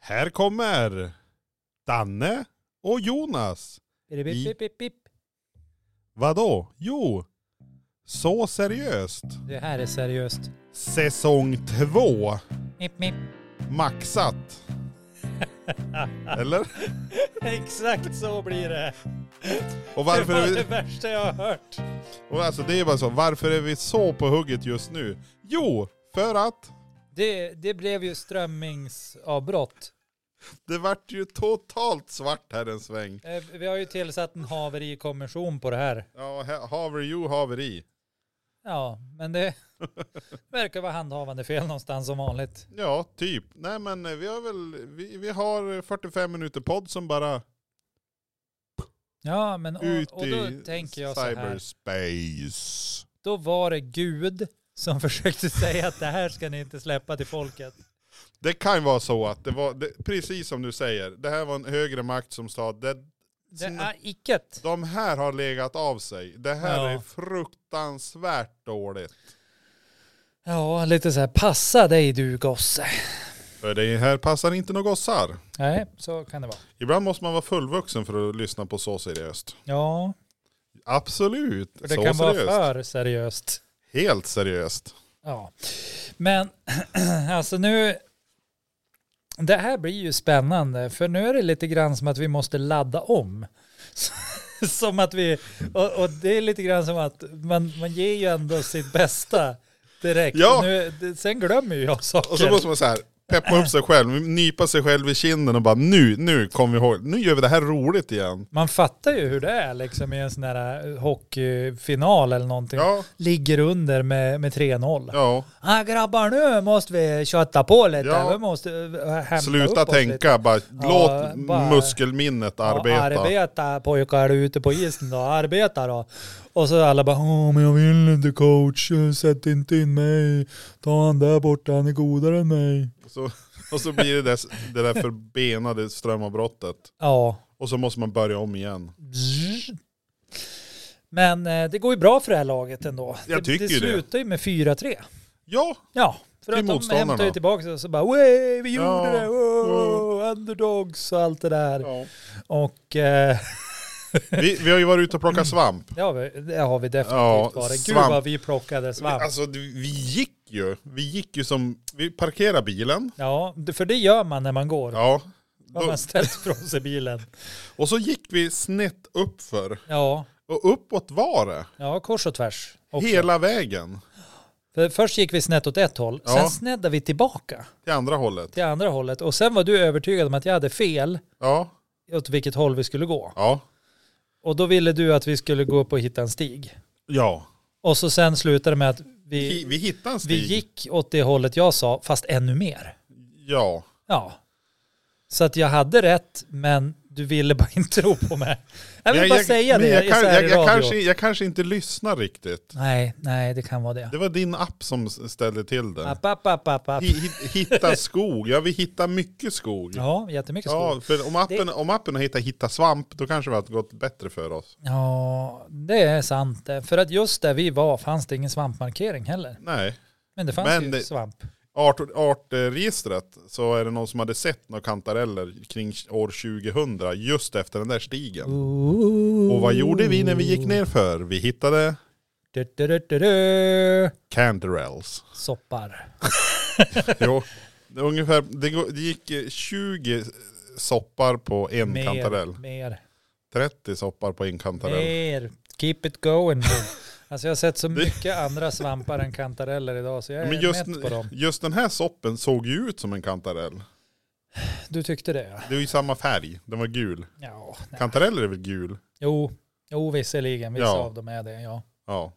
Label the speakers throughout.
Speaker 1: Här kommer Danne och Jonas.
Speaker 2: Bip,
Speaker 1: I-
Speaker 2: bip, bip, bip.
Speaker 1: Vadå? Jo, Så seriöst.
Speaker 2: Det här är seriöst.
Speaker 1: Säsong två.
Speaker 2: Mip, mip.
Speaker 1: Maxat. Eller?
Speaker 2: Exakt så blir det.
Speaker 1: Och varför
Speaker 2: det var
Speaker 1: är vi,
Speaker 2: det värsta jag har hört.
Speaker 1: och alltså det är bara så, varför är vi så på hugget just nu? Jo, för att
Speaker 2: Det, det blev ju strömmingsavbrott.
Speaker 1: det vart ju totalt svart här en sväng.
Speaker 2: Eh, Vi har ju tillsatt en haverikommission på det här.
Speaker 1: Ja, ha- haver you, haveri.
Speaker 2: Ja, men det verkar vara handhavande fel någonstans som vanligt.
Speaker 1: Ja, typ. Nej men eh, vi har väl, vi, vi har 45 minuter podd som bara
Speaker 2: Ja, men
Speaker 1: ut
Speaker 2: och, och då
Speaker 1: i
Speaker 2: tänker jag så här.
Speaker 1: cyberspace.
Speaker 2: Då var det Gud som försökte säga att det här ska ni inte släppa till folket.
Speaker 1: Det kan ju vara så att det var, det, precis som du säger, det här var en högre makt som sa det,
Speaker 2: Det är icket.
Speaker 1: de här har legat av sig. Det här
Speaker 2: Ja.
Speaker 1: är fruktansvärt dåligt.
Speaker 2: Ja, lite så här, passa dig du gosse.
Speaker 1: För det här passar inte några gossar.
Speaker 2: Nej, så kan det vara.
Speaker 1: Ibland måste man vara fullvuxen för att lyssna på Så seriöst.
Speaker 2: Ja,
Speaker 1: Absolut.
Speaker 2: för det
Speaker 1: så
Speaker 2: kan
Speaker 1: seriöst.
Speaker 2: vara för seriöst.
Speaker 1: Helt seriöst.
Speaker 2: Ja, men alltså nu. Det här blir ju spännande för nu är det lite grann som att vi måste ladda om. Som att vi, och, och det är lite grann som att man, man ger ju ändå sitt bästa direkt.
Speaker 1: Ja.
Speaker 2: Nu, det, sen glömmer ju jag saker.
Speaker 1: Och så måste man så här, peppa upp sig själv, nypa sig själv i kinden och bara nu, nu kommer vi ihåg, nu gör vi det här roligt igen.
Speaker 2: Man fattar ju hur det är liksom i en sån här hockeyfinal eller någonting.
Speaker 1: Ja,
Speaker 2: Ligger under med, med 3-0.
Speaker 1: ja.
Speaker 2: Ah, grabbar nu måste vi kötta på lite.
Speaker 1: Ja.
Speaker 2: Vi måste eh, hämta
Speaker 1: Sluta
Speaker 2: upp oss lite.
Speaker 1: tänka, bara låt
Speaker 2: bara-
Speaker 1: muskelminnet arbeta.
Speaker 2: Ja, arbeta pojkar ute på isen då. Arbeta då. Och så alla bara Åh, men jag vill inte coach. Sätt inte in mig. Ta han där borta. Han är godare än mig.
Speaker 1: Så, och så blir det där, det där förbenade strömavbrottet.
Speaker 2: Ja.
Speaker 1: Och så måste man börja om igen.
Speaker 2: Men eh, det går ju bra för det här laget ändå.
Speaker 1: Jag
Speaker 2: det,
Speaker 1: tycker
Speaker 2: det
Speaker 1: ju det.
Speaker 2: slutar ju med 4-3.
Speaker 1: Ja,
Speaker 2: Ja, för
Speaker 1: Till
Speaker 2: att de
Speaker 1: motståndarna.
Speaker 2: hämtar ju tillbaka och så bara Way, vi gjorde
Speaker 1: Ja,
Speaker 2: det, wow, underdogs och allt det där. Och eh,
Speaker 1: Vi, vi har ju varit ute och plockat svamp.
Speaker 2: det, har vi, det har vi definitivt
Speaker 1: Ja,
Speaker 2: varit. Gud
Speaker 1: svamp.
Speaker 2: vad vi plockade svamp.
Speaker 1: Alltså det- vi gick ju, vi gick ju som, vi parkerade bilen.
Speaker 2: Ja, det- för det gör man när man går.
Speaker 1: Ja.
Speaker 2: Har
Speaker 1: Då,
Speaker 2: man ställt från sig bilen.
Speaker 1: och så gick vi snett uppför.
Speaker 2: Ja,
Speaker 1: Och uppåt var det.
Speaker 2: ja kors och tvärs. Också.
Speaker 1: Hela vägen.
Speaker 2: För först gick vi snett åt ett håll,
Speaker 1: Ja.
Speaker 2: sen sneddade vi tillbaka
Speaker 1: Till andra hållet.
Speaker 2: till andra hållet. Och sen var du övertygad om att jag hade fel
Speaker 1: Ja.
Speaker 2: åt vilket håll vi skulle gå.
Speaker 1: Ja.
Speaker 2: Och då ville du att vi skulle gå upp och hitta en stig.
Speaker 1: Ja.
Speaker 2: Och så sen slutade det med att vi,
Speaker 1: Vi, vi hittade en stig.
Speaker 2: Vi gick åt det hållet jag sa, fast ännu mer.
Speaker 1: Ja.
Speaker 2: Ja. Så att jag hade rätt, men du ville bara inte tro på mig. Jag vill
Speaker 1: Men
Speaker 2: bara säga
Speaker 1: men
Speaker 2: det
Speaker 1: Jag, kan,
Speaker 2: så här
Speaker 1: jag,
Speaker 2: i
Speaker 1: jag,
Speaker 2: radio.
Speaker 1: kanske, jag kanske inte lyssnar riktigt.
Speaker 2: Nej, nej, det kan vara det.
Speaker 1: Det var din app som s- ställde till det.
Speaker 2: App, app, app, app, app.
Speaker 1: Hi- hi- Hitta skog, ja vi hittar mycket skog. Ja,
Speaker 2: Ja, jättemycket skog.
Speaker 1: för om appen, om appen har hittat hitta svamp då kanske det hade gått bättre för oss.
Speaker 2: Ja, det är sant. det. För att just där vi var fanns det ingen svampmarkering heller.
Speaker 1: Nej.
Speaker 2: Men det fanns
Speaker 1: Men
Speaker 2: ju
Speaker 1: det-
Speaker 2: svamp.
Speaker 1: Art, artregistret så är det någon som hade sett några kantareller kring år 2000 just efter den där stigen. Och vad gjorde vi när vi gick ner för? Vi hittade
Speaker 2: Du, du, du, du, du.
Speaker 1: canderels.
Speaker 2: Soppar.
Speaker 1: Jo, det, är ungefär, det, går- det gick eh, 20 soppar på en kantarell.
Speaker 2: Mer, mer,
Speaker 1: 30 soppar på en kantarell.
Speaker 2: mer. Keep it going. Alltså jag har sett så
Speaker 1: Det-
Speaker 2: mycket andra svampar än kantareller idag så jag är
Speaker 1: Men just,
Speaker 2: mätt på dem.
Speaker 1: just den här soppen såg ju ut som en kantarell.
Speaker 2: Du tyckte det ja?
Speaker 1: Det var ju samma färg, den var gul.
Speaker 2: Ja. nej.
Speaker 1: Kantareller är väl gul?
Speaker 2: Jo, jo visserligen. Vissa
Speaker 1: Ja.
Speaker 2: av dem är det ja.
Speaker 1: Ja.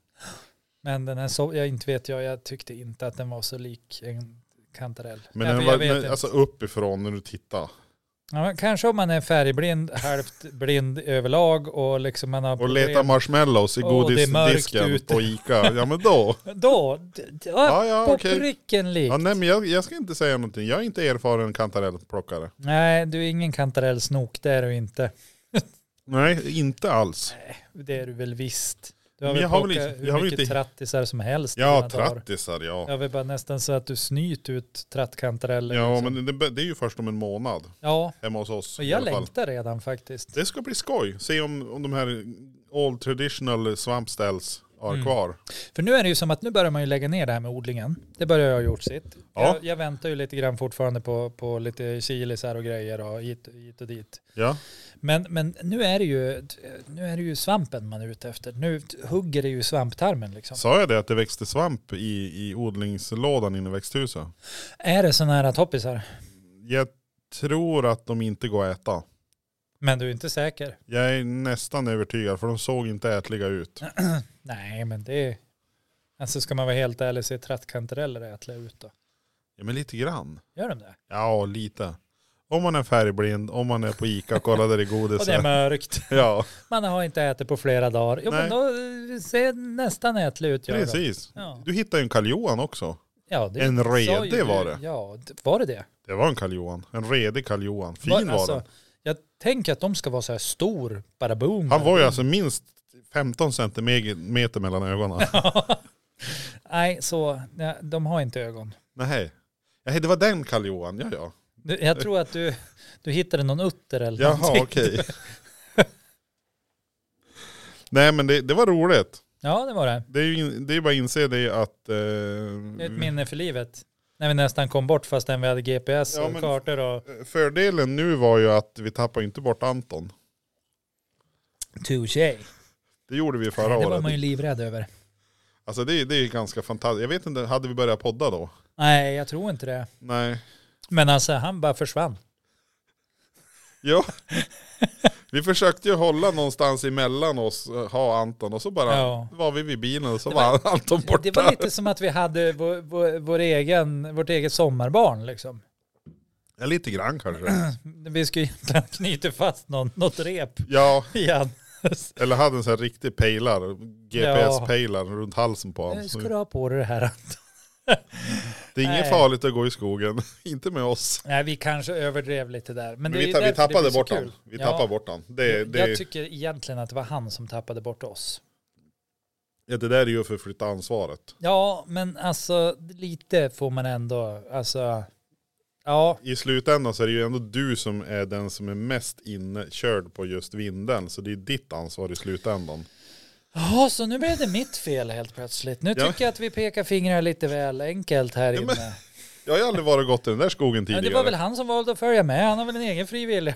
Speaker 2: Men den här så, jag inte vet jag, jag tyckte inte att den var så lik en kantarell.
Speaker 1: Men
Speaker 2: jag,
Speaker 1: den
Speaker 2: jag
Speaker 1: var,
Speaker 2: vet
Speaker 1: men,
Speaker 2: inte.
Speaker 1: alltså uppifrån när du tittar.
Speaker 2: ja, men kanske om man är färgblind, halvt blind överlag och liksom man har
Speaker 1: Och leta marshmallows i
Speaker 2: Åh, det är
Speaker 1: godisdisken
Speaker 2: mörkt ute.
Speaker 1: på Ica. Ja men då.
Speaker 2: Då, d- d-
Speaker 1: Ja
Speaker 2: ja,
Speaker 1: ja
Speaker 2: på
Speaker 1: okej.
Speaker 2: pricken likt.
Speaker 1: Ja, nej men jag, jag ska inte säga någonting. Jag är inte erfaren kantarellplockare.
Speaker 2: Nej, du är ingen kantarellsnok, det är du inte.
Speaker 1: Nej inte alls.
Speaker 2: Det är du väl visst. Du Du har
Speaker 1: Men
Speaker 2: väl
Speaker 1: jag har väl
Speaker 2: plockat
Speaker 1: inte-
Speaker 2: hur
Speaker 1: jag har väl
Speaker 2: mycket
Speaker 1: inte-
Speaker 2: trattisar som helst. i
Speaker 1: Ja,
Speaker 2: dina dagar.
Speaker 1: trattisar ja.
Speaker 2: Jag vill bara nästan så att du snyt ut trattkantareller.
Speaker 1: Ja,
Speaker 2: liksom.
Speaker 1: men det, det är ju först om en månad
Speaker 2: ja,
Speaker 1: hemma hos oss.
Speaker 2: och
Speaker 1: i
Speaker 2: jag
Speaker 1: alla fall.
Speaker 2: längtar redan faktiskt.
Speaker 1: Det ska bli skoj. Se om, om de här all traditional svampställs har
Speaker 2: Mm.
Speaker 1: kvar.
Speaker 2: För nu är det ju som att nu börjar man ju lägga ner det här med odlingen. Det börjar jag ha gjort sitt.
Speaker 1: Ja.
Speaker 2: Jag, jag väntar ju lite grann fortfarande på, på lite chilisar och grejer och hit, hit och dit.
Speaker 1: Ja.
Speaker 2: Men, men nu, är det ju, nu är det ju svampen man är ute efter. Nu hugger det ju svamptarmen liksom.
Speaker 1: Sa jag det att det växte svamp i, i odlingslådan inne i växthuset?
Speaker 2: Är det sådana här toppisar?
Speaker 1: Jag tror att de inte går att äta.
Speaker 2: Men du är inte säker?
Speaker 1: Jag är nästan övertygad för de såg inte ätliga ut.
Speaker 2: Nej, men det är... Alltså ska man vara helt ärlig så är trattkantareller ätliga ut då.
Speaker 1: Ja men lite grann.
Speaker 2: Gör de det?
Speaker 1: Ja lite. Om man är färgblind, om man är på Ica och kollar där det är
Speaker 2: Och det är
Speaker 1: godis.
Speaker 2: mörkt.
Speaker 1: Ja
Speaker 2: Man har inte ätit på flera dagar. Jo, men
Speaker 1: Nej.
Speaker 2: då eh, ser nästan ätlig ut. gör de.
Speaker 1: precis.
Speaker 2: Ja.
Speaker 1: Du hittade ju en karl också.
Speaker 2: Ja, det
Speaker 1: En
Speaker 2: sa ju
Speaker 1: redig
Speaker 2: du.
Speaker 1: var det.
Speaker 2: Ja, d- var det det?
Speaker 1: Det var en karl En redig karl Fin var,
Speaker 2: alltså,
Speaker 1: den.
Speaker 2: Jag tänker att de ska vara så här stor, bara boom.
Speaker 1: Han var ju alltså minst 15 centimeter mellan ögonen.
Speaker 2: Nej, så nej, de har inte ögon.
Speaker 1: Nej. Nej, det var den karl ja ja.
Speaker 2: Du, Jag tror att du, du hittade någon utter eller
Speaker 1: Jaha,
Speaker 2: någonting.
Speaker 1: okej. Nej men det, det var roligt.
Speaker 2: Ja, det var det.
Speaker 1: Det är ju in, det är bara att inse det att... Eh,
Speaker 2: Det är ett minne för livet. När vi nästan kom bort fastän vi hade GPS
Speaker 1: Ja,
Speaker 2: och
Speaker 1: men-
Speaker 2: kartor och...
Speaker 1: fördelen nu var ju att vi tappar ju inte bort Anton.
Speaker 2: Touché.
Speaker 1: Det gjorde vi förra
Speaker 2: Det var
Speaker 1: året.
Speaker 2: man ju livrädd över.
Speaker 1: Alltså det, är- det är ju ganska fantastiskt. Jag vet inte, hade vi börjat podda då?
Speaker 2: Nej, jag tror inte det.
Speaker 1: Nej.
Speaker 2: Men alltså, han bara försvann.
Speaker 1: Ja. vi försökte ju hålla någonstans emellan oss, eh, ha Anton och så bara
Speaker 2: Ja.
Speaker 1: var vi vid bilen och så
Speaker 2: Det
Speaker 1: var, Anton borta.
Speaker 2: Det var lite som att vi hade vår, vår, vår egen, vårt eget sommarbarn liksom.
Speaker 1: Ja, lite grann kanske.
Speaker 2: Vi skulle egentligen knyta fast någon, något rep
Speaker 1: ja,
Speaker 2: i han.
Speaker 1: eller hade en sån här riktig pejlar, GPS-pejlar runt halsen på
Speaker 2: Nu
Speaker 1: honom.
Speaker 2: ska du ha på dig det här.
Speaker 1: Det är
Speaker 2: Nej.
Speaker 1: inget farligt att gå i skogen, inte med oss.
Speaker 2: Nej, vi kanske överdrev lite där. Men,
Speaker 1: Men
Speaker 2: det är
Speaker 1: vi,
Speaker 2: ju
Speaker 1: ta, vi
Speaker 2: därför det
Speaker 1: tappade
Speaker 2: blir så
Speaker 1: bort
Speaker 2: kul.
Speaker 1: han. Vi
Speaker 2: Ja.
Speaker 1: tappade bort han. Det,
Speaker 2: jag,
Speaker 1: det,
Speaker 2: jag tycker egentligen att det var han som tappade bort oss.
Speaker 1: ja, det där är ju för att flytta ansvaret.
Speaker 2: Ja, men alltså lite får man ändå, alltså, ja,
Speaker 1: I slutändan så är det ju ändå du som är den som är mest inkörd på just vinden. Så det är ditt ansvar i slutändan.
Speaker 2: Ja, så nu blev det mitt fel helt plötsligt. Nu
Speaker 1: Ja.
Speaker 2: tycker jag att vi pekar fingrar lite väl enkelt här
Speaker 1: Ja, men-
Speaker 2: inne.
Speaker 1: Jag har ju aldrig varit och gått i den där skogen
Speaker 2: Men
Speaker 1: tidigare.
Speaker 2: det var väl han som valde att följa med. Han har väl en egen fri vilja.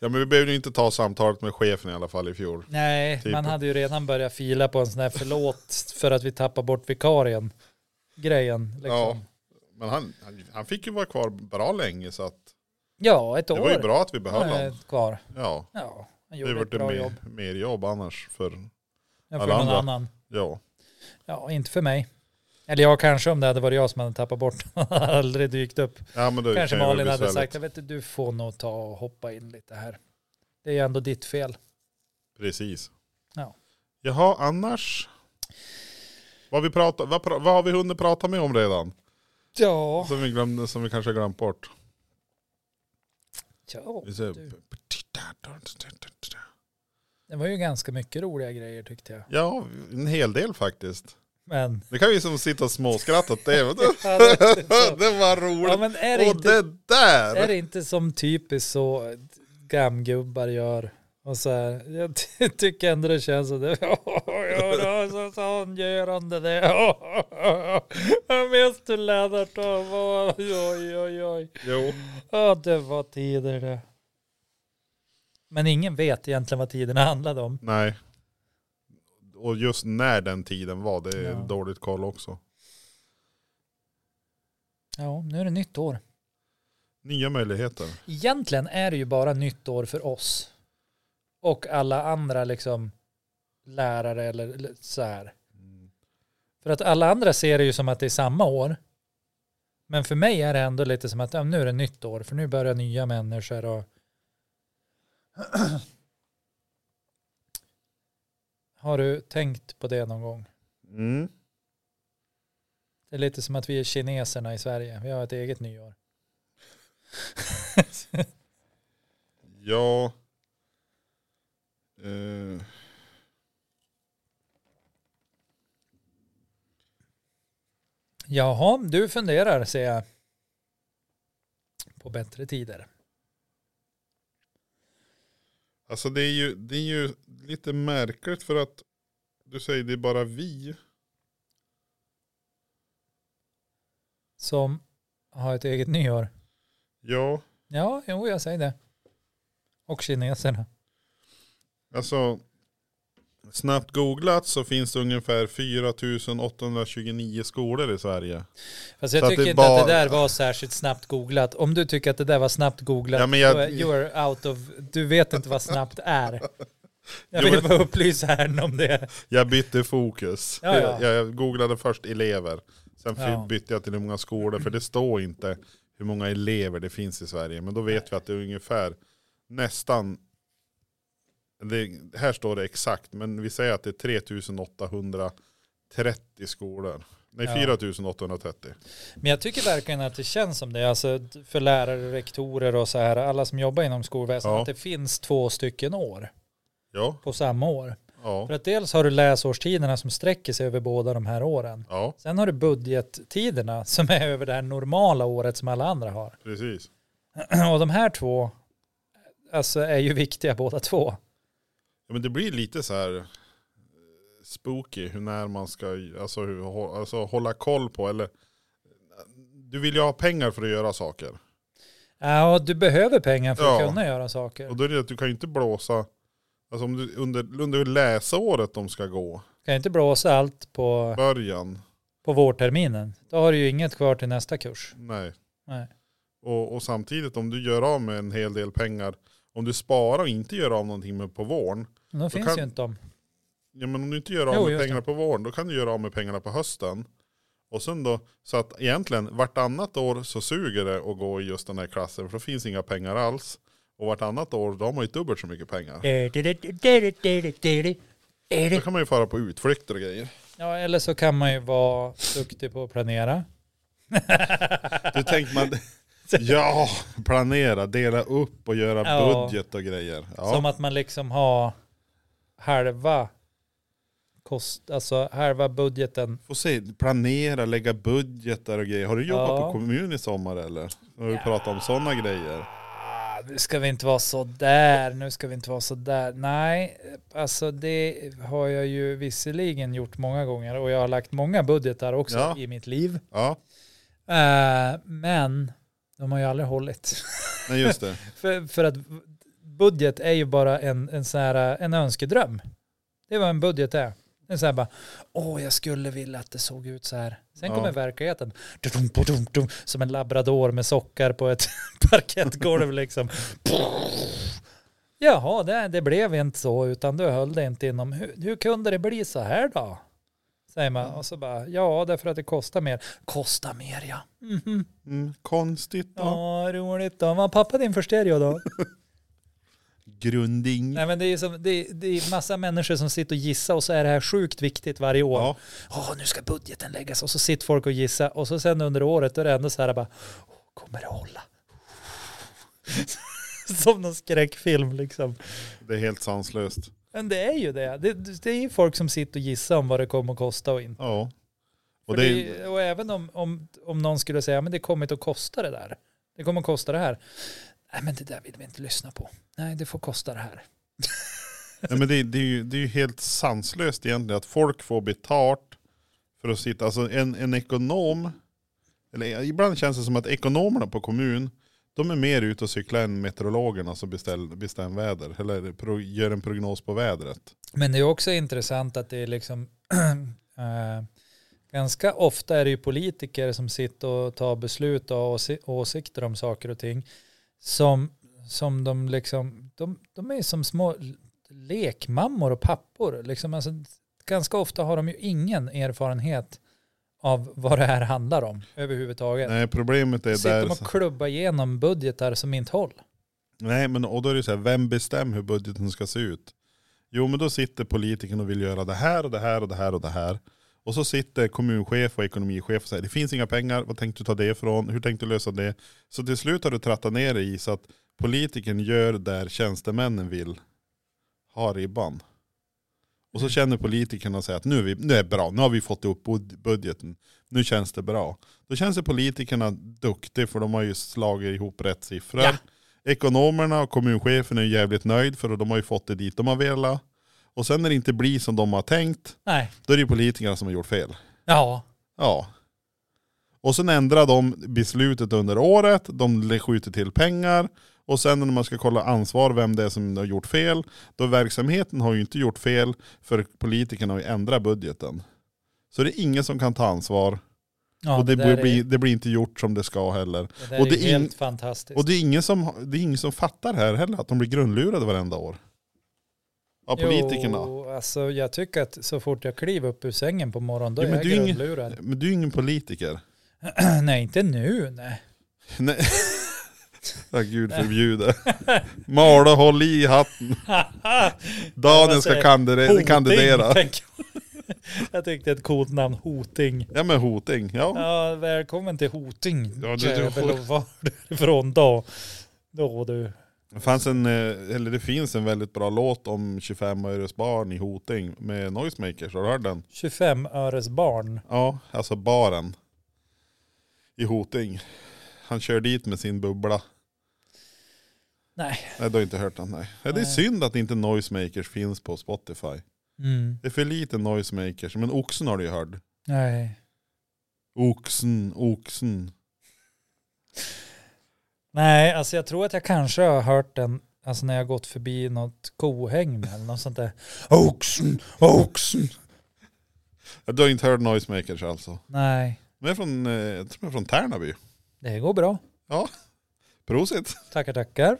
Speaker 1: Ja men vi behövde ju inte ta samtalet med chefen i alla fall i fjol.
Speaker 2: Nej,
Speaker 1: Typ.
Speaker 2: man hade ju redan börjat fila på en sån här förlåt för att vi tappar bort vikarien. Grejen. Liksom.
Speaker 1: Ja.
Speaker 2: Ja.
Speaker 1: Men han, han, han fick ju vara kvar bra länge så att
Speaker 2: ett
Speaker 1: det
Speaker 2: år.
Speaker 1: var ju bra att vi
Speaker 2: Han
Speaker 1: behöll
Speaker 2: är
Speaker 1: honom.
Speaker 2: kvar.
Speaker 1: Ja,
Speaker 2: Ja, han
Speaker 1: det
Speaker 2: gjorde ett
Speaker 1: vart
Speaker 2: bra
Speaker 1: mer,
Speaker 2: jobb.
Speaker 1: mer jobb annars för,
Speaker 2: Jag får
Speaker 1: alla
Speaker 2: någon
Speaker 1: andra.
Speaker 2: annan.
Speaker 1: ja.
Speaker 2: Ja, inte för mig. Eller jag kanske om det hade varit jag som hade tappat bort. Aldrig dykt upp.
Speaker 1: ja men då
Speaker 2: Kanske
Speaker 1: kan ju vara
Speaker 2: Malin hade
Speaker 1: besvärligt.
Speaker 2: sagt, jag vet inte, du får nog ta och hoppa in lite här. Det är ju ändå ditt fel.
Speaker 1: Precis.
Speaker 2: Ja.
Speaker 1: Jaha, annars? Vad, vi pratar, vad, pra- vad har vi hunnit prata med om redan?
Speaker 2: Ja.
Speaker 1: Som vi, glömde, som vi kanske har glömt bort.
Speaker 2: ja.
Speaker 1: Vi ser-
Speaker 2: Du. Det var ju ganska mycket roliga grejer tyckte jag.
Speaker 1: Ja, en hel del faktiskt.
Speaker 2: Men...
Speaker 1: Det kan vi som sitta och småskratta åt det. Det
Speaker 2: Ja, det-
Speaker 1: det var
Speaker 2: Alltså, ja,
Speaker 1: roligt.
Speaker 2: men är det,
Speaker 1: och
Speaker 2: inte,
Speaker 1: det där!
Speaker 2: är det inte som typiskt så gamgubbar gör? Och så här, jag ty- tycker ändå det känns som det. Ja, det var så sångörande det. Jag minns du Lennart och vad- oj, oj, oj.
Speaker 1: Jo.
Speaker 2: Ja, det var tider det. Men ingen vet egentligen vad tiderna handlade om.
Speaker 1: Nej. Och just när den tiden var, det är
Speaker 2: Ja.
Speaker 1: dåligt koll också.
Speaker 2: Ja, nu är det nytt år.
Speaker 1: Nya möjligheter.
Speaker 2: Egentligen är det ju bara nytt år för oss. Och alla andra liksom lärare eller eller så här. För att alla andra ser det ju som att det är samma år. Men för mig är det ändå lite som att ja, nu är det nytt år. För nu börjar nya människor och... Har du tänkt på det någon gång?
Speaker 1: Mm.
Speaker 2: Det är lite som att vi är kineserna i Sverige. Vi har ett eget nyår.
Speaker 1: Ja. Eh.
Speaker 2: Jaha, du funderar ser jag. På bättre tider.
Speaker 1: Alltså det är, ju, det är ju lite märkligt för att du säger det är bara vi.
Speaker 2: Som har ett eget nyår.
Speaker 1: Ja,
Speaker 2: Ja, jo jag säger det. Och kineserna.
Speaker 1: alltså snabbt googlat så finns det ungefär 4829 skolor i Sverige.
Speaker 2: Fast
Speaker 1: Så
Speaker 2: jag
Speaker 1: att
Speaker 2: tycker
Speaker 1: det
Speaker 2: inte att det
Speaker 1: bara-
Speaker 2: där var särskilt snabbt googlat. Om du tycker att det där var snabbt googlat,
Speaker 1: Ja, men jag-
Speaker 2: då är- you are out of, du vet inte vad snabbt är. Jag
Speaker 1: Jo,
Speaker 2: vill
Speaker 1: men-
Speaker 2: bara upplysa här om det.
Speaker 1: Jag bytte fokus.
Speaker 2: Ja, ja.
Speaker 1: Jag, jag googlade först elever. Sen fly-
Speaker 2: Ja.
Speaker 1: bytte jag till hur många skolor. För det står inte hur många elever det finns i Sverige. Men då vet vi att det är ungefär nästan. Det, här står det exakt. Men vi säger att det är 3830 skolor. Nej
Speaker 2: Ja.
Speaker 1: 4830.
Speaker 2: Men jag tycker verkligen att det känns som det, alltså för lärare, rektorer och så här, alla som jobbar inom skolväsendet,
Speaker 1: Ja.
Speaker 2: att det finns två stycken år
Speaker 1: Ja.
Speaker 2: på samma år.
Speaker 1: Ja.
Speaker 2: För att dels har du läsårstiderna som sträcker sig över båda de här åren.
Speaker 1: Ja.
Speaker 2: Sen har du budgettiderna som är över det här normala året som alla andra har.
Speaker 1: Precis.
Speaker 2: Och de här två alltså, är ju viktiga båda två.
Speaker 1: Ja, men det blir lite så här eh, spooky hur när man ska alltså, hur, hå- alltså, hålla koll på. Eller, du vill ju ha pengar för att göra saker.
Speaker 2: Ja, och du behöver pengar för att
Speaker 1: Ja.
Speaker 2: kunna göra saker.
Speaker 1: Och då är det att du kan ju inte blåsa. Alltså om du, under, under läsåret de ska gå,
Speaker 2: Du kan inte blåsa allt på,
Speaker 1: början,
Speaker 2: på vårterminen. Då har du ju inget kvar till nästa kurs.
Speaker 1: nej.
Speaker 2: Nej.
Speaker 1: Och, och samtidigt om du gör av med en hel del pengar, om du sparar och inte gör av någonting med på våren,
Speaker 2: Men Då finns
Speaker 1: kan-
Speaker 2: ju inte de.
Speaker 1: Ja men om du inte gör av
Speaker 2: Jo,
Speaker 1: med
Speaker 2: just
Speaker 1: pengarna på våren då kan du göra av med pengarna på hösten. Och sen då, så att egentligen vartannat år så suger det att gå i just den här klassen för då finns inga pengar alls. Och vartannat år då har man ju dubbelt så mycket pengar. Då kan man ju fara på utflykter och grejer.
Speaker 2: Ja, eller så kan man ju vara duktig på att planera.
Speaker 1: Du tänker man, ja, planera, dela upp och göra
Speaker 2: Ja.
Speaker 1: budget och grejer.
Speaker 2: Som
Speaker 1: Ja,
Speaker 2: att man liksom har halva, kost, alltså halva budgeten.
Speaker 1: får se, planera, lägga budgetar och grejer. Har du jobbat
Speaker 2: Ja.
Speaker 1: på kommun i sommar eller? Har du pratat om sådana grejer?
Speaker 2: Ah, Nu ska vi inte vara så där, nu ska vi inte vara så där. Nej, alltså det har jag ju visserligen gjort många gånger och jag har lagt många budgetar också
Speaker 1: Ja.
Speaker 2: i mitt liv.
Speaker 1: Ja,
Speaker 2: Eh, men de har ju aldrig hållit.
Speaker 1: nej just det.
Speaker 2: För, för att budget är ju bara en, en, sån här, en önskedröm. Det är vad en budget är. Det är så här bara, åh jag skulle vilja att det såg ut så här. Sen
Speaker 1: Ja.
Speaker 2: kommer verkligheten, dum, dum, dum, dum, som en labrador med sockar på ett parkettgolv liksom. Jaha, det, det blev inte så utan du höll det inte inom. Hur, hur kunde det bli så här då? Säger man. Och så bara, ja därför att det kostar mer. Kostar mer ja. Mhm.
Speaker 1: Mm, konstigt då.
Speaker 2: Ja, roligt då. Vad pappa din för stereo då?
Speaker 1: Grunding.
Speaker 2: Nej men det är ju som, det är, det är massa människor som sitter och gissar och så är det här sjukt viktigt varje år. Ja.
Speaker 1: Ja.
Speaker 2: nu ska budgeten läggas och så sitter folk och gissar och så sen under året då är det ändå så här bara, "Åh, kommer det hålla? som någon skräckfilm liksom.
Speaker 1: Det är helt sanslöst.
Speaker 2: Men det är ju det. det. Det är ju folk som sitter och gissar om vad det kommer att kosta och inte.
Speaker 1: Ja.
Speaker 2: Och,
Speaker 1: Och det är,
Speaker 2: och även om, om, om någon skulle säga, men det kommer inte att kosta det där. Det kommer att kosta det här. Nej men det där vill vi inte lyssna på. Nej det får kosta det här.
Speaker 1: nej, men det, är- det, är ju, det är ju helt sanslöst egentligen att folk får betalt för att sitta, alltså en, en ekonom, eller ibland känns det som att ekonomerna på kommun, de är mer ute och cyklar än meteorologerna som beställer, bestämmer väder, eller pro, gör en prognos på vädret.
Speaker 2: Men det är också intressant att det är liksom eh, ganska ofta är det ju politiker som sitter och tar beslut och har åsi- åsikter om saker och ting som, som de liksom, de, de är som små lekmammor och pappor. Liksom, alltså, ganska ofta har de ju ingen erfarenhet av vad det här handlar om överhuvudtaget.
Speaker 1: Nej, problemet är
Speaker 2: Sitter
Speaker 1: där,
Speaker 2: de och klubbar igenom budgetar som inte håller.
Speaker 1: nej men och då är det så här, vem bestämmer hur budgeten ska se ut? Jo men då sitter politikern och vill göra det här och det här och det här och det här. Och så sitter kommunchef och ekonomichef och säger det finns inga pengar, vad tänkte du ta det ifrån, hur tänkte du lösa det? Så till slut har du trattat ner det i så att politikern gör där tjänstemännen vill ha ribban. Och så känner politikerna och säger att nu är, vi, nu är det bra, nu har vi fått upp bud- budgeten. nu känns det bra. Då känns ju politikerna duktiga för de har ju slagit ihop rätt siffror.
Speaker 2: Ja.
Speaker 1: Ekonomerna och kommunchefen är ju jävligt nöjd för de har ju fått det dit de har velat. Och sen när det inte blir som de har tänkt,
Speaker 2: Nej.
Speaker 1: då är det ju politikerna som har gjort fel.
Speaker 2: Ja.
Speaker 1: Ja. Och sen ändrar de beslutet under året, de skjuter till pengar och sen när man ska kolla ansvar, vem det är som har gjort fel, då verksamheten har ju inte gjort fel för politikerna har ju ändrat budgeten. Så det är ingen som kan ta ansvar
Speaker 2: ja
Speaker 1: och det,
Speaker 2: där
Speaker 1: blir, det blir inte gjort som det ska heller.
Speaker 2: är, det
Speaker 1: och
Speaker 2: och
Speaker 1: det
Speaker 2: det
Speaker 1: är
Speaker 2: är
Speaker 1: in-
Speaker 2: helt fantastiskt.
Speaker 1: Och det är ingen som, det är ingen som fattar här heller att de blir grundlurade varenda år. Av politikerna.
Speaker 2: Jo, alltså jag tycker att så fort jag kliver upp ur sängen på morgonen då
Speaker 1: Jo,
Speaker 2: är
Speaker 1: men
Speaker 2: jag
Speaker 1: du är ingen-
Speaker 2: grundlurad.
Speaker 1: Men du är ju ingen politiker.
Speaker 2: nej, inte nu. Nej.
Speaker 1: Nej. Ja, gud förbjude. Mala håll i hatten. Daniel
Speaker 2: Vad
Speaker 1: ska
Speaker 2: säger-
Speaker 1: kandide- kandidera.
Speaker 2: tänker jag. jag tyckte ett coolt namn, Hoting.
Speaker 1: Ja men hoting. Ja.
Speaker 2: Ja, välkommen till Hoting.
Speaker 1: Ja,
Speaker 2: Ja,
Speaker 1: du-
Speaker 2: du,
Speaker 1: du-
Speaker 2: Var du ifrån då? Då du.
Speaker 1: Det fanns en, eh, eller det finns en väldigt bra låt om 25 öres barn i Hoting med Noisemakers. Har du hört den?
Speaker 2: 25 öres barn.
Speaker 1: Ja, alltså baren. I Hoting. Han kör dit med sin bubbla.
Speaker 2: Nej.
Speaker 1: Nej du har inte hört den nej. Ja, det är
Speaker 2: Nej.
Speaker 1: synd att inte Noisemakers finns på Spotify.
Speaker 2: Mm.
Speaker 1: Det är för lite Noisemakers. Men Oxen har du ju hört.
Speaker 2: Nej.
Speaker 1: Oxen, oxen.
Speaker 2: Nej, alltså jag tror att jag kanske har hört den alltså när jag gått förbi något kohägn eller något sånt där. Oxen, oxen.
Speaker 1: Ja, Du har inte hört Noisemakers alltså?
Speaker 2: Nej,
Speaker 1: De är från, eh, jag tror de är från Tärnaby.
Speaker 2: det går bra.
Speaker 1: Prosit.
Speaker 2: Tackar, tackar.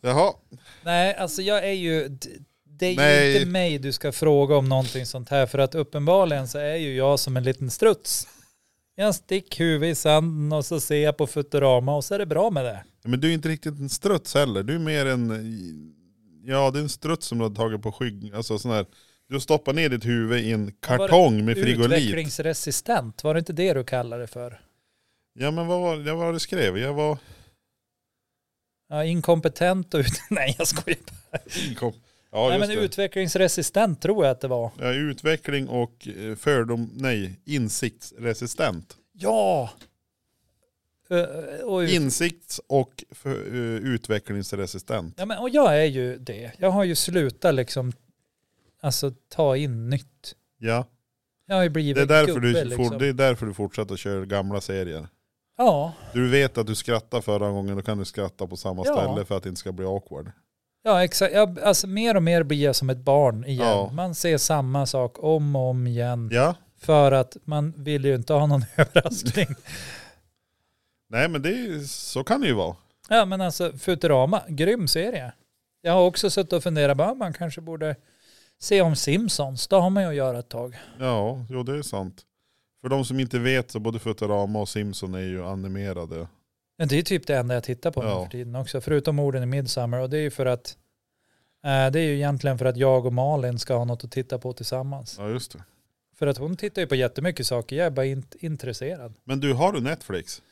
Speaker 1: Jaha.
Speaker 2: Nej, alltså jag är ju... d- Det är
Speaker 1: Nej.
Speaker 2: ju inte mig du ska fråga om någonting sånt här för att uppenbarligen så är ju jag som en liten struts. Jag stick huvud i sanden och så ser jag på Futurama och så är det bra med det.
Speaker 1: Men du är inte riktigt en struts heller. Du är mer en, ja det är en struts som du har tagit på skygg, alltså sån här. Du stoppar ner ditt huvud i en kartong med frigolit.
Speaker 2: Utvecklingsresistent, var det inte det du kallade det för?
Speaker 1: Ja men vad var, vad var det du skrev? Jag var
Speaker 2: Ja, inkompetent och ut... Nej, jag skojar.
Speaker 1: inkom. Ja
Speaker 2: Nej,
Speaker 1: just
Speaker 2: men
Speaker 1: det.
Speaker 2: utvecklingsresistent tror jag att det var.
Speaker 1: Ja, utveckling och eh, fördom, nej insiktsresistent.
Speaker 2: Ja! Eh, Och, ut-
Speaker 1: Insikts och för, eh, utvecklingsresistent.
Speaker 2: ja, men, och jag är ju det. Jag har ju slutat liksom, alltså ta in nytt.
Speaker 1: Ja,
Speaker 2: Jag har ju blivit
Speaker 1: det är därför
Speaker 2: gubbe,
Speaker 1: du,
Speaker 2: liksom.
Speaker 1: for, det är därför du fortsätter köra gamla serier.
Speaker 2: Ja,
Speaker 1: Du vet att du skrattade förra gången, då kan du skratta på samma
Speaker 2: Ja.
Speaker 1: ställe för att det inte ska bli awkward.
Speaker 2: ja exakt. Jag, alltså mer och mer blir jag som ett barn igen.
Speaker 1: Ja.
Speaker 2: Man ser samma sak om och om igen.
Speaker 1: Ja,
Speaker 2: För att man vill ju inte ha någon överraskning.
Speaker 1: nej men det är, så kan det ju vara.
Speaker 2: Ja men alltså Futurama, grym serie. Jag har också suttit och funderat på man kanske borde se om Simpsons. Då har man ju att göra ett tag.
Speaker 1: Ja, jo det är sant. För de som inte vet så både Futurama och Simpson är ju animerade.
Speaker 2: Men det är typ det enda jag tittar på
Speaker 1: Ja.
Speaker 2: nu för tiden också. Förutom orden i Midsummer. Och det är ju för att eh, det är ju egentligen för att jag och Malin ska ha något att titta på tillsammans.
Speaker 1: Ja just det.
Speaker 2: För att hon tittar ju på jättemycket saker. Jag är bara inte intresserad.
Speaker 1: Men du, har du Netflix?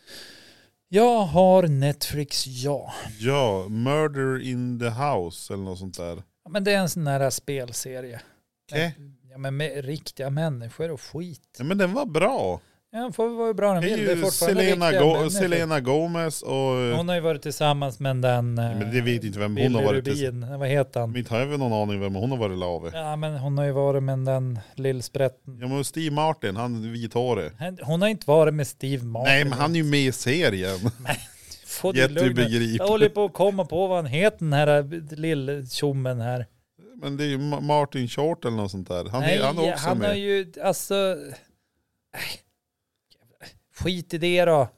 Speaker 2: Jag har Netflix, ja.
Speaker 1: Ja, Murder in the House eller något sånt där.
Speaker 2: Ja, Men det är en sån här spelserie.
Speaker 1: Okej.
Speaker 2: Ja men med riktiga människor och skit.
Speaker 1: Ja, men den var bra.
Speaker 2: Ja, den får vara hur bra den
Speaker 1: Det
Speaker 2: vill.
Speaker 1: är
Speaker 2: Det är
Speaker 1: ju
Speaker 2: fortfarande
Speaker 1: Selena,
Speaker 2: riktiga
Speaker 1: Go-
Speaker 2: människor.
Speaker 1: Selena Gomez och... eh,
Speaker 2: Hon har ju varit tillsammans med den... eh,
Speaker 1: men det vet inte vem hon
Speaker 2: Billy
Speaker 1: har varit tillsammans
Speaker 2: Rubin, vad heter han?
Speaker 1: med. Inte har jag väl någon aning vem hon har varit lave.
Speaker 2: Ja, men hon har ju varit med den lillsprätten.
Speaker 1: Ja men Steve Martin, han vithårig.
Speaker 2: Hon har inte varit med Steve Martin.
Speaker 1: Nej men han typ är ju med i serien.
Speaker 2: Få det lugnt. Jag
Speaker 1: Jättebegripligt.
Speaker 2: håller på att komma på vad han heter, den här lilltjommen här.
Speaker 1: Men det är ju Ma- Martin Short eller något sånt där. Han
Speaker 2: Nej,
Speaker 1: är, han är också
Speaker 2: han har
Speaker 1: med.
Speaker 2: ju, alltså... nej. Skit i det då.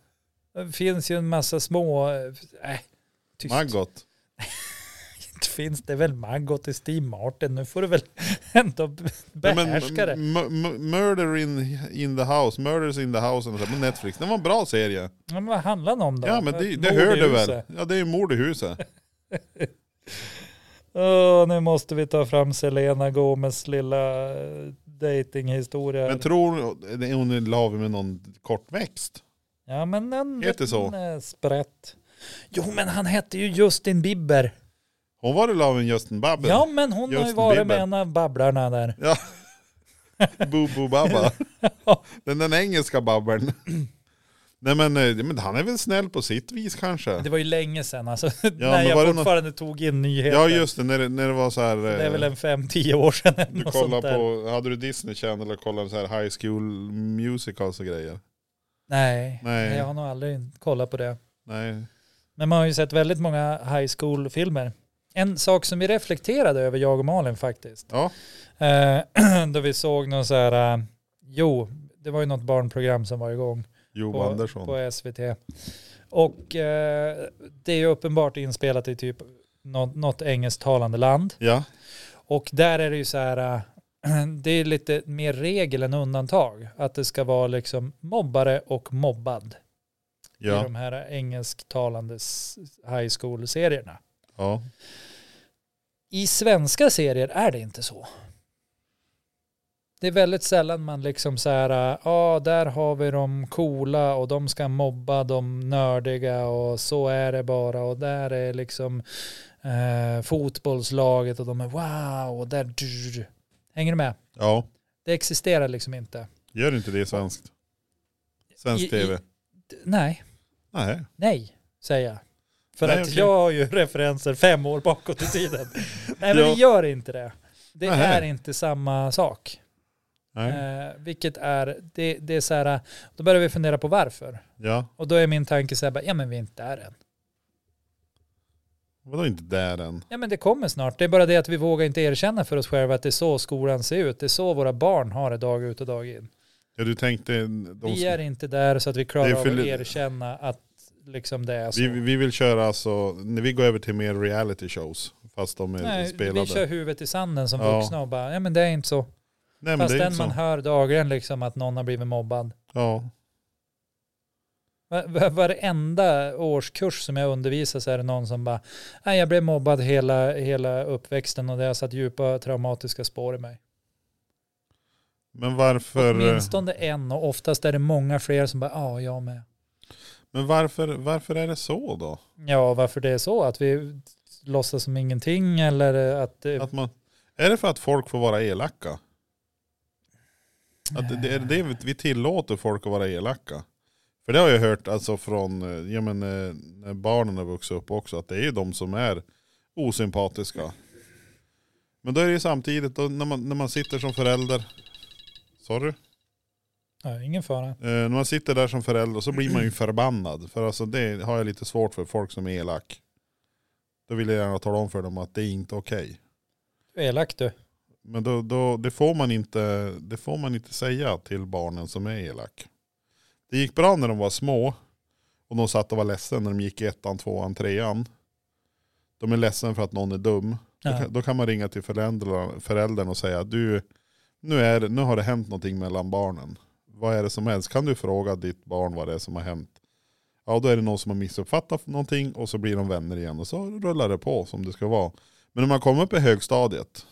Speaker 2: Det finns ju en massa små... Äh, tyst.
Speaker 1: Maggot.
Speaker 2: Inte finns det väl Maggot i Steve Martin. Nu får du väl ändå
Speaker 1: Ja, men,
Speaker 2: behärska det.
Speaker 1: m- m- Murder in, in the house, Murders in the house eller så här på Netflix. Det var en bra serie.
Speaker 2: Ja, men vad handlar den om då? Äh,
Speaker 1: Ja men det, det
Speaker 2: Mord i
Speaker 1: hör du väl?
Speaker 2: huset.
Speaker 1: Ja det är ju mord i huset.
Speaker 2: Åh, nu måste vi ta fram Selena Gomez lilla eh, datinghistoria.
Speaker 1: Men tror hon, hon är lav med någon kortväxt?
Speaker 2: ja men en
Speaker 1: Heter så?
Speaker 2: liten, eh, sprätt. Jo men han hette ju Justin Bieber.
Speaker 1: Hon var ju lav med Justin Bieber.
Speaker 2: Ja men hon har ju
Speaker 1: Justin
Speaker 2: varit
Speaker 1: Bieber.
Speaker 2: med en av babblarna där.
Speaker 1: Ja. Bubu Baba. Den, den engelska babbeln. Nej men, eh, men han är väl snäll på sitt vis kanske.
Speaker 2: Det var ju länge sedan alltså. när
Speaker 1: men var
Speaker 2: jag
Speaker 1: det
Speaker 2: fortfarande tog in nyheter.
Speaker 1: Ja just det, när det, när det var så här.
Speaker 2: det är
Speaker 1: eh,
Speaker 2: väl en fem, tio år sedan. eller
Speaker 1: Du
Speaker 2: något sånt
Speaker 1: kollar
Speaker 2: där.
Speaker 1: på, hade du Disney Channel och kollade så här High School Musicals och grejer?
Speaker 2: Nej,
Speaker 1: Nej.
Speaker 2: jag har nog aldrig kollat på det.
Speaker 1: Nej.
Speaker 2: Men man har ju sett väldigt många high school-filmer. En sak som vi reflekterade över, jag och Malin faktiskt,
Speaker 1: Ja,
Speaker 2: eh, då vi såg någon så här, eh, jo, det var ju något barnprogram som var igång
Speaker 1: Joe
Speaker 2: på,
Speaker 1: Andersson.
Speaker 2: på SVT. Och eh, det är ju uppenbart inspelat i typ något, något engelsktalande land.
Speaker 1: Ja,
Speaker 2: Och där är det ju så här, äh, det är lite mer regel än undantag. Att det ska vara liksom mobbare och mobbad i
Speaker 1: ja,
Speaker 2: de här engelsktalande s- high school-serierna.
Speaker 1: ja.
Speaker 2: I svenska serier är det inte så. Det är väldigt sällan man liksom så här, äh, ja där har vi de coola och de ska mobba de nördiga och så är det bara och där är liksom eh, fotbollslaget och de är wow och där, hänger du med?
Speaker 1: Ja,
Speaker 2: Det existerar liksom inte.
Speaker 1: gör inte det svenskt? Svensk
Speaker 2: I- i-
Speaker 1: tv?
Speaker 2: D- Nej,
Speaker 1: Nej.
Speaker 2: nej, säger jag. För
Speaker 1: Nej,
Speaker 2: att
Speaker 1: okej.
Speaker 2: jag har ju referenser fem år bakåt i tiden. nej, men
Speaker 1: Ja.
Speaker 2: vi gör inte det. Det
Speaker 1: Nähä.
Speaker 2: är inte samma sak.
Speaker 1: Nej.
Speaker 2: Eh, vilket är, det, det är så här, då börjar vi fundera på varför.
Speaker 1: Ja,
Speaker 2: Och då är min tanke så här, bara, ja men vi är inte där än.
Speaker 1: vadå inte där än?
Speaker 2: Ja men det kommer snart, det är bara det att vi vågar inte erkänna för oss själva att det är så skolan ser ut, det är så våra barn har det dag ut och dag in.
Speaker 1: Ja, du tänkte, de,
Speaker 2: Vi är inte där så att vi
Speaker 1: Det
Speaker 2: klarar
Speaker 1: är
Speaker 2: av att
Speaker 1: för li-
Speaker 2: erkänna att liksom det är så.
Speaker 1: vi, vi vill köra alltså, när vi går över till mer reality shows, fast de är
Speaker 2: Nej,
Speaker 1: spelade.
Speaker 2: vi kör huvudet i sanden som
Speaker 1: Ja.
Speaker 2: vuxna och bara, ja men det är inte så.
Speaker 1: Nej, men
Speaker 2: Fast
Speaker 1: det är
Speaker 2: den
Speaker 1: inte
Speaker 2: man
Speaker 1: så.
Speaker 2: hör dagligen liksom att någon har blivit mobbad.
Speaker 1: Ja,
Speaker 2: Va- va- Varenda årskurs som jag undervisar så är det någon som bara, nej jag blev mobbad hela, hela uppväxten och det har satt djupa traumatiska spår i mig.
Speaker 1: men varför?
Speaker 2: Åtminstone en och oftast är det många fler som bara, ja jag med.
Speaker 1: Men varför, varför är det så då?
Speaker 2: Ja varför det är så, att vi låtsas som ingenting eller att, eh,
Speaker 1: Att man, är det för att folk får vara elaka? Att det, är det det vi- vi tillåter folk att vara elaka? För det har jag hört alltså från eh, ja, men, eh, när barnen har vuxit upp också, att det är ju de som är osympatiska. Men då är det ju samtidigt, då, när, man, när man sitter som förälder, sorry, eh,
Speaker 2: ja, ingen fara.
Speaker 1: när man sitter där som förälder så blir man ju förbannad. För alltså det har jag lite svårt för, folk som är elak. Då vill jag gärna tala om för dem att det är inte okej.
Speaker 2: Du är elak du.
Speaker 1: Men då, då, det, får man inte, det får man inte säga till barnen som är elak. Det gick bra när de var små och de satt och var ledsen när de gick i ettan, tvåan, trean. De är ledsen för att någon är dum. Då,
Speaker 2: Ja.
Speaker 1: kan, då kan man ringa till föräldrarna, föräldern och säga du, nu, är, det- nu har det hänt någonting mellan barnen. Vad är det som helst? Kan du fråga ditt barn vad det är som har hänt? Ja, då är det någon som har missuppfattat någonting och så blir de vänner igen och så rullar det på som det ska vara. Men när man kommer upp i högstadiet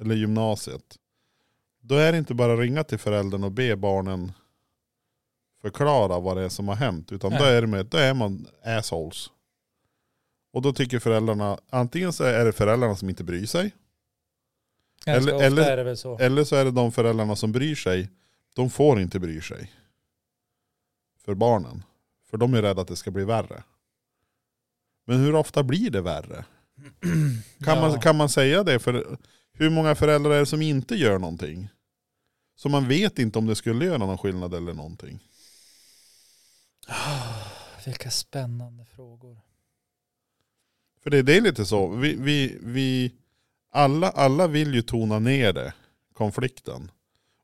Speaker 1: eller gymnasiet, då är det inte bara att ringa till föräldern och be barnen förklara vad det är som har hänt, utan då
Speaker 2: Nej.
Speaker 1: är, det med, då är man assholes. Och då tycker föräldrarna, antingen så är det föräldrarna som inte bryr sig,
Speaker 2: Ganska
Speaker 1: Eller-
Speaker 2: ofta
Speaker 1: eller-
Speaker 2: är det väl så.
Speaker 1: eller så är det de föräldrarna som bryr sig, de får inte bry sig. För barnen. För de är rädda att det ska bli värre. Men hur ofta blir det värre? Kan,
Speaker 2: Ja.
Speaker 1: man, kan man säga det? För hur många föräldrar är det som inte gör någonting? Så man vet inte om det skulle göra någon skillnad eller någonting.
Speaker 2: Vilka spännande frågor.
Speaker 1: För det, det är lite så. Vi, vi, vi, alla, alla vill ju tona ner det, konflikten.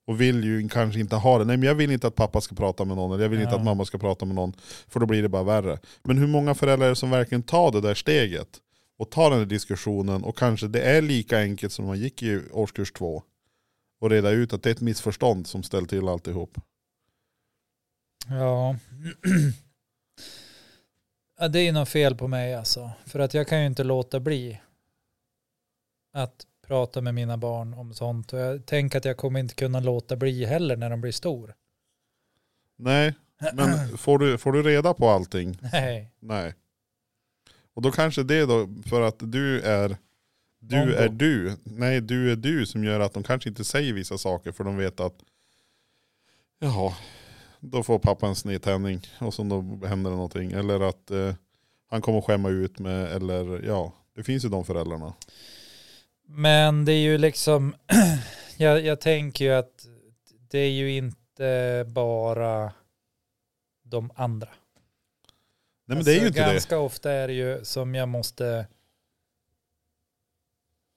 Speaker 1: Och vill ju kanske inte ha det. Nej men jag vill inte att pappa ska prata med någon, eller jag vill inte
Speaker 2: Ja.
Speaker 1: att mamma ska prata med någon. För då blir det bara värre. Men hur många föräldrar är det som verkligen tar det där steget? Och tar den där diskussionen och kanske det är lika enkelt som man gick i årskurs två. Och reda ut att det är ett missförstånd som ställt till alltihop.
Speaker 2: Ja. ja. Det är ju något fel på mig alltså. För att jag kan ju inte låta bli att prata med mina barn om sånt. Och jag tänker att jag kommer inte kunna låta bli heller när de blir stor.
Speaker 1: Nej, men får du, får du reda på allting
Speaker 2: Nej.
Speaker 1: Nej. Och då kanske det då, för att du är Du är du. Nej, du är du som gör att de kanske inte säger vissa saker för de vet att jaha, då får pappa en snedtändning och så då händer det någonting. Eller att eh, han kommer att skämma ut med, eller ja, det finns ju de föräldrarna.
Speaker 2: Men det är ju liksom, jag, jag tänker ju att det är ju inte bara de andra.
Speaker 1: Nej men det är ju inte det.
Speaker 2: Alltså, ganska ofta är det ju som jag måste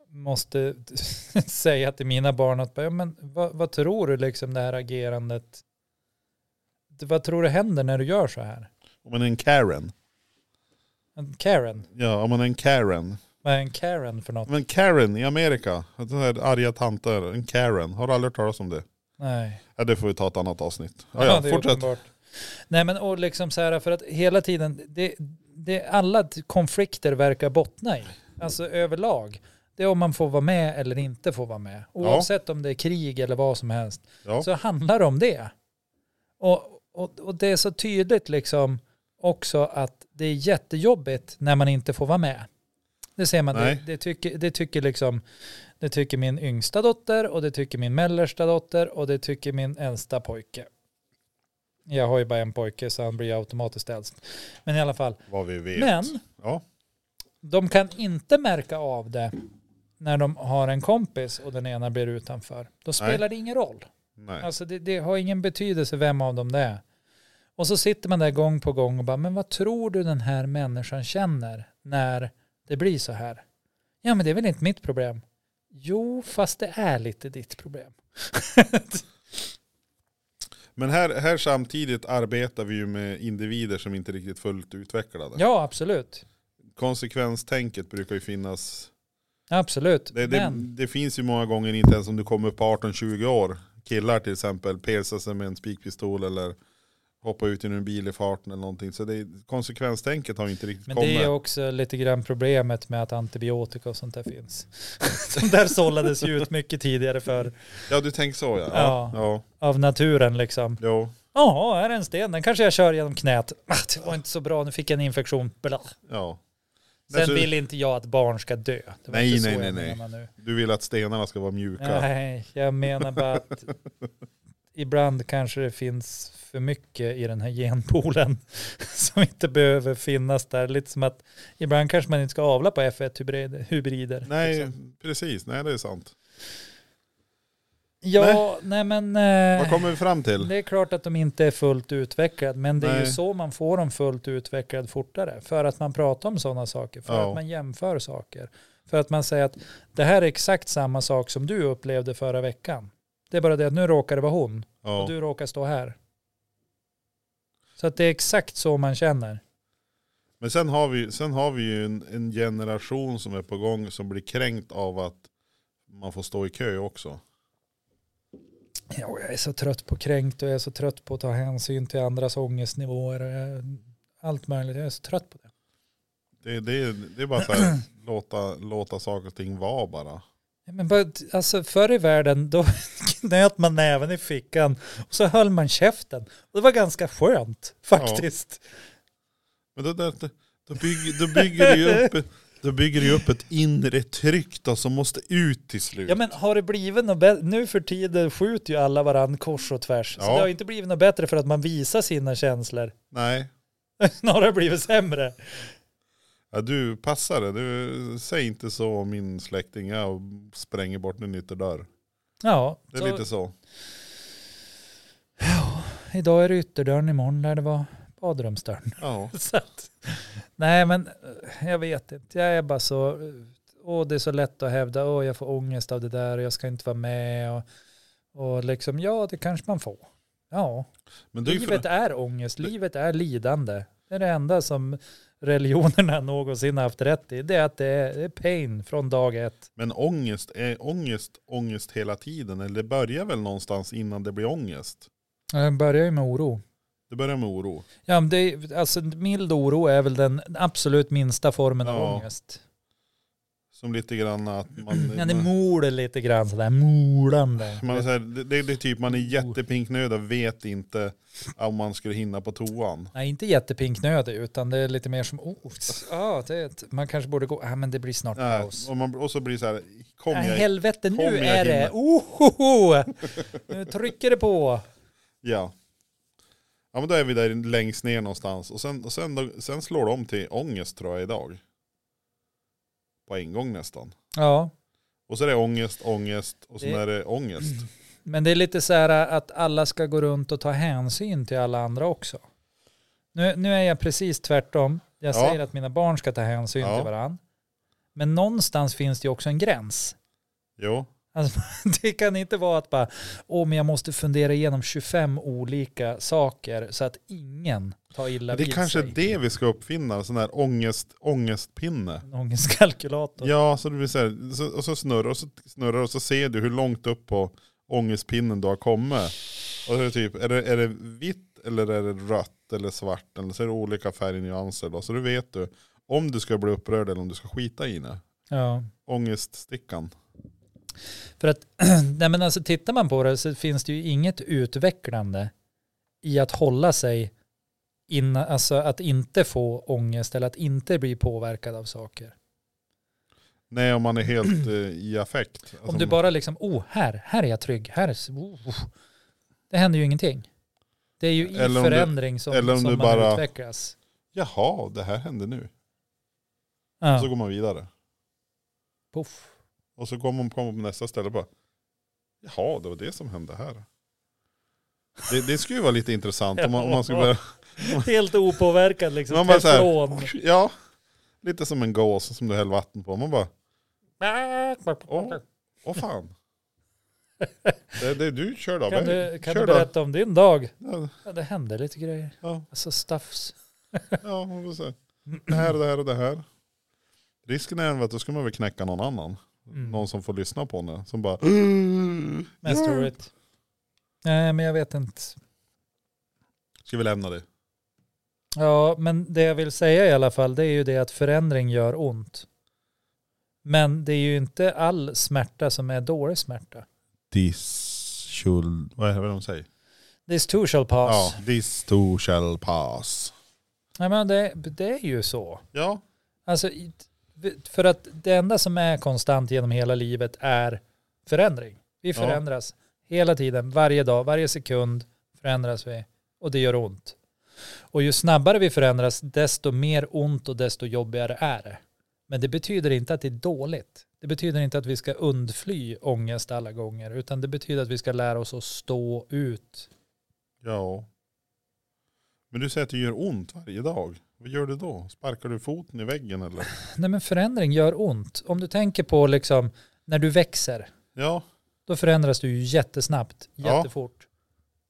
Speaker 2: måste säga till mina barn att bara, ja, men vad, vad tror du liksom det här agerandet det- vad tror du händer när du gör så här?
Speaker 1: Om man är en Karen.
Speaker 2: En Karen?
Speaker 1: Ja, om man är en Karen.
Speaker 2: Vad är en Karen för något?
Speaker 1: Men Karen i Amerika, sådana här arga tanter, en Karen. Har du aldrig hört talas om det?
Speaker 2: Nej.
Speaker 1: Ja, det får vi ta ett annat avsnitt. Ja, ja,
Speaker 2: det är
Speaker 1: fortsätt.
Speaker 2: uppenbart. Nej men och liksom så här för att hela tiden, det, det alla t- konflikter verkar bottna i, alltså överlag. Det är om man får vara med eller inte får vara med. Oavsett om det är krig eller vad som helst.
Speaker 1: Ja.
Speaker 2: så handlar det om det. Och, och, och det är så tydligt liksom också att det är jättejobbigt när man inte får vara med. Det ser man, det,
Speaker 1: Nej.
Speaker 2: det, tycker, det, tycker liksom, det tycker min yngsta dotter och det tycker min mellersta dotter och det tycker min äldsta pojke. Jag har ju bara en pojke så han blir automatiskt äldst. Men i alla fall,
Speaker 1: Vad vi vet.
Speaker 2: men
Speaker 1: Ja.
Speaker 2: de kan inte märka av det när de har en kompis och den ena blir utanför. Då spelar det ingen roll.
Speaker 1: Nej.
Speaker 2: Alltså det, det har ingen betydelse vem av dem det är. Och så sitter man där gång på gång och bara, men vad tror du den här människan känner när det blir så här? Ja, men det är väl inte mitt problem. Jo, fast det är lite ditt problem.
Speaker 1: Men här, här samtidigt arbetar vi ju med individer som inte är riktigt fullt utvecklade.
Speaker 2: Ja, absolut.
Speaker 1: Konsekvenstänket brukar ju finnas.
Speaker 2: Absolut.
Speaker 1: Det, det,
Speaker 2: men,
Speaker 1: det finns ju många gånger inte ens om du kommer upp på 18-20 år. Killar till exempel piercar sig med en spikpistol eller hoppar ut ur en bil i farten eller någonting. Så det, konsekvenstänket har ju inte riktigt
Speaker 2: men
Speaker 1: kommit.
Speaker 2: det är också lite grann problemet med att antibiotika och sånt där finns. De där sållades ju ut mycket tidigare för
Speaker 1: Ja du tänker så ja.
Speaker 2: Ja.
Speaker 1: Ja, ja.
Speaker 2: av naturen liksom.
Speaker 1: Jo.
Speaker 2: Ja, här är en sten, den kanske jag kör genom knät. Ah, Det var inte så bra, nu fick jag en infektion. Blah.
Speaker 1: ja.
Speaker 2: Sen
Speaker 1: Alltså-
Speaker 2: vill inte jag att barn ska dö. Det var
Speaker 1: Nej,
Speaker 2: inte
Speaker 1: nej,
Speaker 2: så
Speaker 1: nej,
Speaker 2: jag
Speaker 1: nej.
Speaker 2: menar nu.
Speaker 1: Du vill att stenarna ska vara mjuka.
Speaker 2: Nej, jag menar bara att ibland kanske det finns för mycket i den här genpoolen som inte behöver finnas där. Lite som att ibland kanske man inte ska avla på F1-hybrider. hybrider,
Speaker 1: Nej,
Speaker 2: liksom.
Speaker 1: precis. Nej det är sant.
Speaker 2: Ja, nej, men... eh,
Speaker 1: Vad kommer vi fram till?
Speaker 2: Det är klart att de inte är fullt utvecklade, men det är ju
Speaker 1: Nej.
Speaker 2: så man får dem fullt utvecklade fortare. För att man pratar om sådana saker, för
Speaker 1: Ja.
Speaker 2: att man jämför saker. För att man säger att det här är exakt samma sak som du upplevde förra veckan. Det är bara det att nu råkar det vara hon
Speaker 1: Ja.
Speaker 2: och du råkar stå här. Så att det är exakt så man känner.
Speaker 1: Men sen har vi, sen har vi ju en, en generation som är på gång som blir kränkt av att man får stå i kö också.
Speaker 2: Ja, och jag är så trött på kränkt och jag är så trött på att ta hänsyn till andras ångestnivåer. och jag- Allt möjligt, jag är så trött på det.
Speaker 1: Det, det, det är bara så här, låta, låta saker och ting vara bara.
Speaker 2: Ja, Men bara, alltså förr i världen då knöt man näven i fickan och så höll man käften. Och det var ganska skönt faktiskt.
Speaker 1: Men då, då, då, bygger, då, bygger, det ju upp, då bygger det ju upp ett inre tryck då, som måste ut till
Speaker 2: Ja,
Speaker 1: slut.
Speaker 2: men har det blivit något bättre? Nu för tiden skjuter ju alla varann kors och tvärs. Så
Speaker 1: Ja.
Speaker 2: det har ju inte blivit något bättre för att man visar sina känslor.
Speaker 1: Nej,
Speaker 2: Snarare har det blivit sämre.
Speaker 1: ja, du passar det. Du, säg inte så om min släkting. Jag spränger bort en ytterdörr.
Speaker 2: Ja,
Speaker 1: Det är
Speaker 2: så
Speaker 1: lite så.
Speaker 2: idag är det ytterdörren, imorgon lär det vara badrumsdörren.
Speaker 1: Ja.
Speaker 2: Så att, nej men eh, jag vet inte. Jag är bara så, eh, åh det är så lätt att hävda, åh jag får ångest av det där och jag ska inte vara med. Och, och liksom, ja det kanske man får. Ja,
Speaker 1: Men det är ju för-
Speaker 2: livet är ångest, livet är lidande. Det är det enda som religionerna någonsin haft rätt i. Det är att det är, det är pain från dag ett.
Speaker 1: Men ångest, är ångest ångest hela tiden? Eller det börjar väl någonstans innan det blir ångest?
Speaker 2: Den börjar ju med oro.
Speaker 1: Det börjar med oro.
Speaker 2: Ja, men det är, alltså mild oro är väl den absolut minsta formen av
Speaker 1: Ja.
Speaker 2: ångest.
Speaker 1: Som lite grann att man...
Speaker 2: Ja, det
Speaker 1: man-
Speaker 2: moler lite grann sådär, molande.
Speaker 1: man är så här, det, det det är typ man är jättepinknödig och vet inte om man skulle hinna på toan.
Speaker 2: Nej, inte jättepinknödig utan det är lite mer som, oh, ah, det, är ett- man kanske borde gå, ah, men det blir snart
Speaker 1: Nej,
Speaker 2: paus.
Speaker 1: och, man, och så blir det så här, kom
Speaker 2: Ah,
Speaker 1: jag.
Speaker 2: helvete, nu
Speaker 1: kom jag
Speaker 2: är det,
Speaker 1: hinner.
Speaker 2: ohoho, nu trycker det på.
Speaker 1: Ja. ja men då är vi där längst ner någonstans. Och sen, och sen, då, sen slår det om till ångest tror jag idag. På en gång nästan.
Speaker 2: Ja,
Speaker 1: Och så är det ångest, ångest och sen
Speaker 2: Det-
Speaker 1: är det ångest.
Speaker 2: men det är lite så här att alla ska gå runt och ta hänsyn till alla andra också. Nu, nu är jag precis tvärtom. Jag
Speaker 1: Ja.
Speaker 2: säger att mina barn ska ta hänsyn
Speaker 1: Ja.
Speaker 2: till varandra. Men någonstans finns det ju också en gräns.
Speaker 1: Jo.
Speaker 2: Det kan inte vara att bara, åh men jag måste fundera igenom 25 olika saker så att ingen tar illa
Speaker 1: Det
Speaker 2: vid
Speaker 1: är kanske är
Speaker 2: sig.
Speaker 1: det vi ska uppfinna, en sån här ångest, ångestpinne.
Speaker 2: En ångestkalkylator.
Speaker 1: Ja, så det blir så här, så, och så snurrar och så snurrar och så ser du hur långt upp på ångestpinnen du har kommit. Och så är det typ, är det, är det vitt eller är det rött eller svart? Eller så är det olika färgnyanser då. Så du vet du om du ska bli upprörd eller om du ska skita i det.
Speaker 2: Ja.
Speaker 1: Ångeststickan.
Speaker 2: För att, nej men alltså tittar man på det så finns det ju inget utvecklande i att hålla sig innan, alltså att inte få ångest eller att inte bli påverkad av saker.
Speaker 1: Nej, om man är helt eh, i affekt. Alltså,
Speaker 2: Om du bara liksom, oh här, här är jag trygg, här, är- oh, oh. det händer ju ingenting. Det är ju i
Speaker 1: Eller om du-
Speaker 2: förändring som,
Speaker 1: eller om
Speaker 2: som
Speaker 1: du
Speaker 2: man
Speaker 1: bara-
Speaker 2: utvecklas.
Speaker 1: Jaha, det här hände nu.
Speaker 2: Ja,
Speaker 1: Så går man vidare.
Speaker 2: puff.
Speaker 1: Och så kommer man kommer på nästa ställe och bara, jaha, det var det som hände här. Det, det skulle ju vara lite intressant om man, om man skulle börja
Speaker 2: Helt opåverkad liksom,
Speaker 1: Man bara så här-
Speaker 2: teflon.
Speaker 1: Ja, lite som en gås som du häller vatten på. Man bara, åh, åh fan. Det, det, du körde av
Speaker 2: Kan
Speaker 1: vägen.
Speaker 2: du, kan
Speaker 1: Kör
Speaker 2: du
Speaker 1: då.
Speaker 2: berätta om din dag?
Speaker 1: Ja,
Speaker 2: Ja, det hände lite grejer.
Speaker 1: ja,
Speaker 2: Alltså staffs.
Speaker 1: ja, man får se. det här och det här och det här. Risken är även att då ska man väl knäcka någon annan.
Speaker 2: Mm.
Speaker 1: Någon som får lyssna på henne. Som bara,
Speaker 2: Mest roligt. Nej, men jag vet inte.
Speaker 1: ska vi lämna det?
Speaker 2: Ja, men det jag vill säga i alla fall, det är ju det att förändring gör ont. Men det är ju inte all smärta som är dålig smärta.
Speaker 1: This shall, vad är det de säger?
Speaker 2: This too shall pass.
Speaker 1: Ja, this too shall pass.
Speaker 2: Nej, men det, det är ju så.
Speaker 1: Ja,
Speaker 2: Alltså, i- för att det enda som är konstant genom hela livet är förändring. Vi
Speaker 1: Ja.
Speaker 2: förändras hela tiden, varje dag, varje sekund förändras vi och det gör ont. Och ju snabbare vi förändras, desto mer ont och desto jobbigare är det. Men det betyder inte att det är dåligt. Det betyder inte att vi ska undfly ångest alla gånger, utan det betyder att vi ska lära oss att stå ut.
Speaker 1: Ja. Men du säger att det gör ont varje dag. Vad gör du då? Sparkar du foten i väggen eller?
Speaker 2: Nej, men förändring gör ont. Om du tänker på liksom när du växer,
Speaker 1: Ja,
Speaker 2: då förändras du ju jättesnabbt,
Speaker 1: Ja.
Speaker 2: jättefort.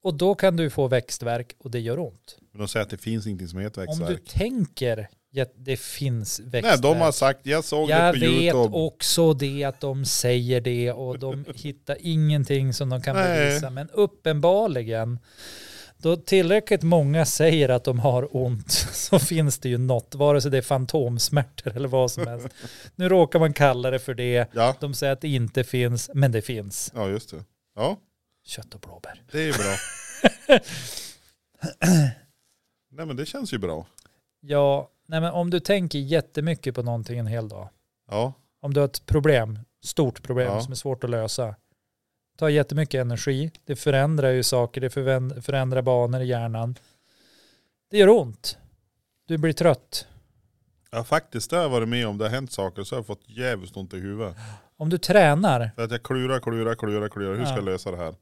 Speaker 2: Och då kan du få växtverk och det gör ont.
Speaker 1: men de säger att det finns ingenting som heter
Speaker 2: Om du
Speaker 1: växtverk.
Speaker 2: tänker att det finns
Speaker 1: Nej,
Speaker 2: växtverk.
Speaker 1: de har sagt, jag såg
Speaker 2: jag
Speaker 1: det på
Speaker 2: vet
Speaker 1: YouTube.
Speaker 2: också det att de säger det och de hittar ingenting som de kan
Speaker 1: Nej.
Speaker 2: bevisa. Men uppenbarligen, då tillräckligt många säger att de har ont så finns det ju något, vare sig det är fantomsmärtor eller vad som helst. Nu råkar man kalla det för det.
Speaker 1: Ja.
Speaker 2: De säger att det inte finns, men det finns.
Speaker 1: ja, just det. Ja,
Speaker 2: Kött och blåbär.
Speaker 1: det är ju bra. Nej men det känns ju bra.
Speaker 2: Ja, nej men om du tänker jättemycket på någonting en hel dag.
Speaker 1: Ja,
Speaker 2: Om du har ett problem, stort problem
Speaker 1: Ja.
Speaker 2: som är svårt att lösa. Tar jättemycket energi, det förändrar ju saker, det förvän- förändrar banor i hjärnan. Det gör ont. Du blir trött.
Speaker 1: jag har faktiskt det har jag varit med om. Det har hänt saker så har jag fått jävligt ont i huvudet.
Speaker 2: Om du tränar,
Speaker 1: För att jag klurar, klurar, klurar, klurar. Hur ska
Speaker 2: Ja.
Speaker 1: jag lösa det här?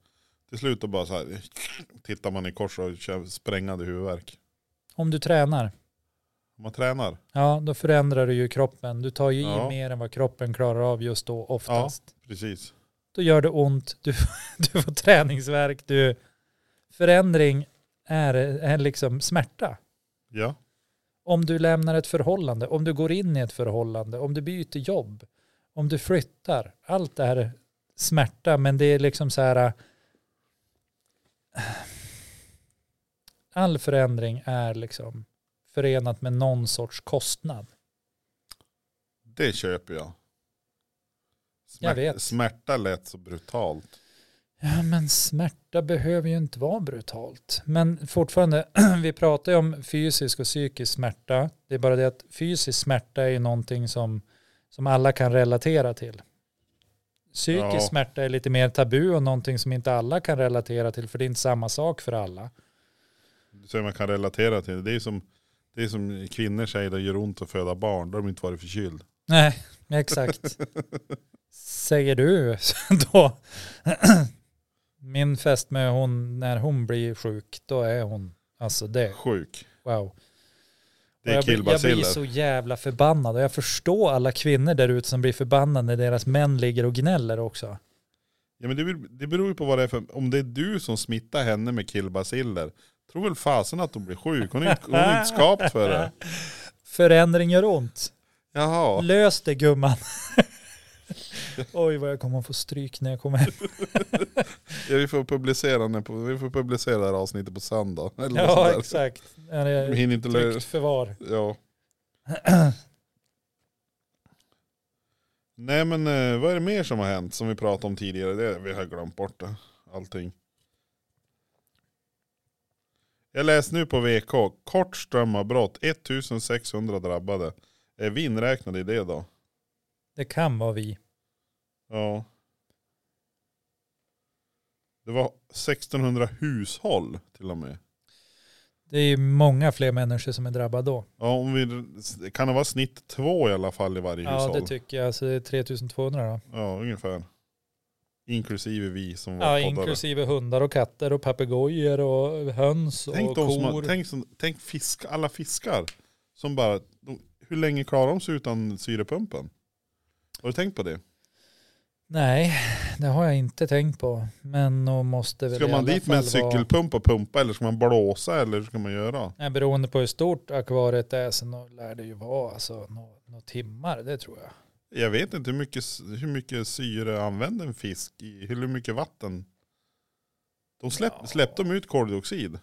Speaker 1: Till slut då bara så här, tittar man i kors och känner sprängande huvudvärk.
Speaker 2: om du tränar,
Speaker 1: Om man tränar.
Speaker 2: ja då förändrar du ju kroppen. Du tar ju
Speaker 1: Ja.
Speaker 2: i mer än vad kroppen klarar av just då oftast.
Speaker 1: Precis.
Speaker 2: Då gör det ont, du, du får träningsvärk, du... Förändring är, är liksom smärta.
Speaker 1: Ja,
Speaker 2: om du lämnar ett förhållande, om du går in i ett förhållande, om du byter jobb, om du flyttar. Allt det här är smärta, men det är liksom så här... äh, All förändring är liksom förenat med någon sorts kostnad.
Speaker 1: det köper jag.
Speaker 2: Jag vet.
Speaker 1: Smärta lät så brutalt.
Speaker 2: Ja, men smärta behöver ju inte vara brutalt. Men fortfarande, vi pratar ju om fysisk och psykisk smärta. Det är bara det att fysisk smärta är ju någonting som, som alla kan relatera till. Psykisk
Speaker 1: Ja.
Speaker 2: smärta är lite mer tabu och någonting som inte alla kan relatera till, för det är inte samma sak för alla.
Speaker 1: Så man kan relatera till det. Det är som, det är som kvinnor säger, det gör ont att föda barn. Då har de inte varit förkyld.
Speaker 2: Nej, exakt. Säger du då. Min fest med hon, när hon blir sjuk, då är hon, alltså det,
Speaker 1: Sjuk.
Speaker 2: wow.
Speaker 1: Det
Speaker 2: Och
Speaker 1: är
Speaker 2: jag, blir, jag blir
Speaker 1: killbaciller.
Speaker 2: så jävla förbannad och jag förstår alla kvinnor där ute som blir förbannade när deras män ligger och gnäller också.
Speaker 1: Ja, men det, beror- det beror ju på vad det är för, om det är du som smittar henne med killbaciller. Tror väl fasen att hon blir sjuk. Hon är inte, hon är inte skapt för det.
Speaker 2: Förändring gör ont.
Speaker 1: Jaha.
Speaker 2: Lös det gumman. Oj vad jag kommer att få stryk när jag kommer hem.
Speaker 1: Ja, vi får publicera den på, vi får publicera det här avsnittet på söndag. Eller något sånt
Speaker 2: Ja
Speaker 1: där.
Speaker 2: exakt. Är
Speaker 1: Vi
Speaker 2: det
Speaker 1: hinner inte lö-
Speaker 2: tryggt förvar.
Speaker 1: Ja. Nej men eh, vad är det mer som har hänt som vi pratade om tidigare? Det, vi har glömt bort det. Allting. Jag läste nu på VK, kort strömavbrott, 1600 drabbade. Är vi inräknade i det då?
Speaker 2: Det kan vara vi.
Speaker 1: Ja. Det var 1600 hushåll till och med.
Speaker 2: Det är ju många fler människor som är drabbade då.
Speaker 1: Ja, om vi, kan det vara snitt två i alla fall i varje
Speaker 2: Ja
Speaker 1: hushåll?
Speaker 2: det tycker jag. Så det är 3200 då.
Speaker 1: Ja, ungefär. Inklusive vi som var
Speaker 2: Ja
Speaker 1: poddare.
Speaker 2: inklusive hundar och katter och papegojor och höns och
Speaker 1: tänk, de som har,
Speaker 2: kor.
Speaker 1: tänk, som, tänk fisk, alla fiskar. Som bara, de, hur länge klarar de sig utan syrepumpen? Har du tänkt på det?
Speaker 2: Nej, det har jag inte tänkt på. Men nog måste väl
Speaker 1: Ska
Speaker 2: i
Speaker 1: man
Speaker 2: alla
Speaker 1: dit med en
Speaker 2: fall vara-
Speaker 1: cykelpump och pumpa eller ska man blåsa eller hur ska man göra?
Speaker 2: Nej, beroende på hur stort akvariet är så nog lär det ju vara alltså, några nå timmar, det tror jag.
Speaker 1: Jag vet inte hur mycket, hur mycket syre använder en fisk i, hur mycket vatten? De släpp,
Speaker 2: Ja.
Speaker 1: Släppte de ut koldioxid?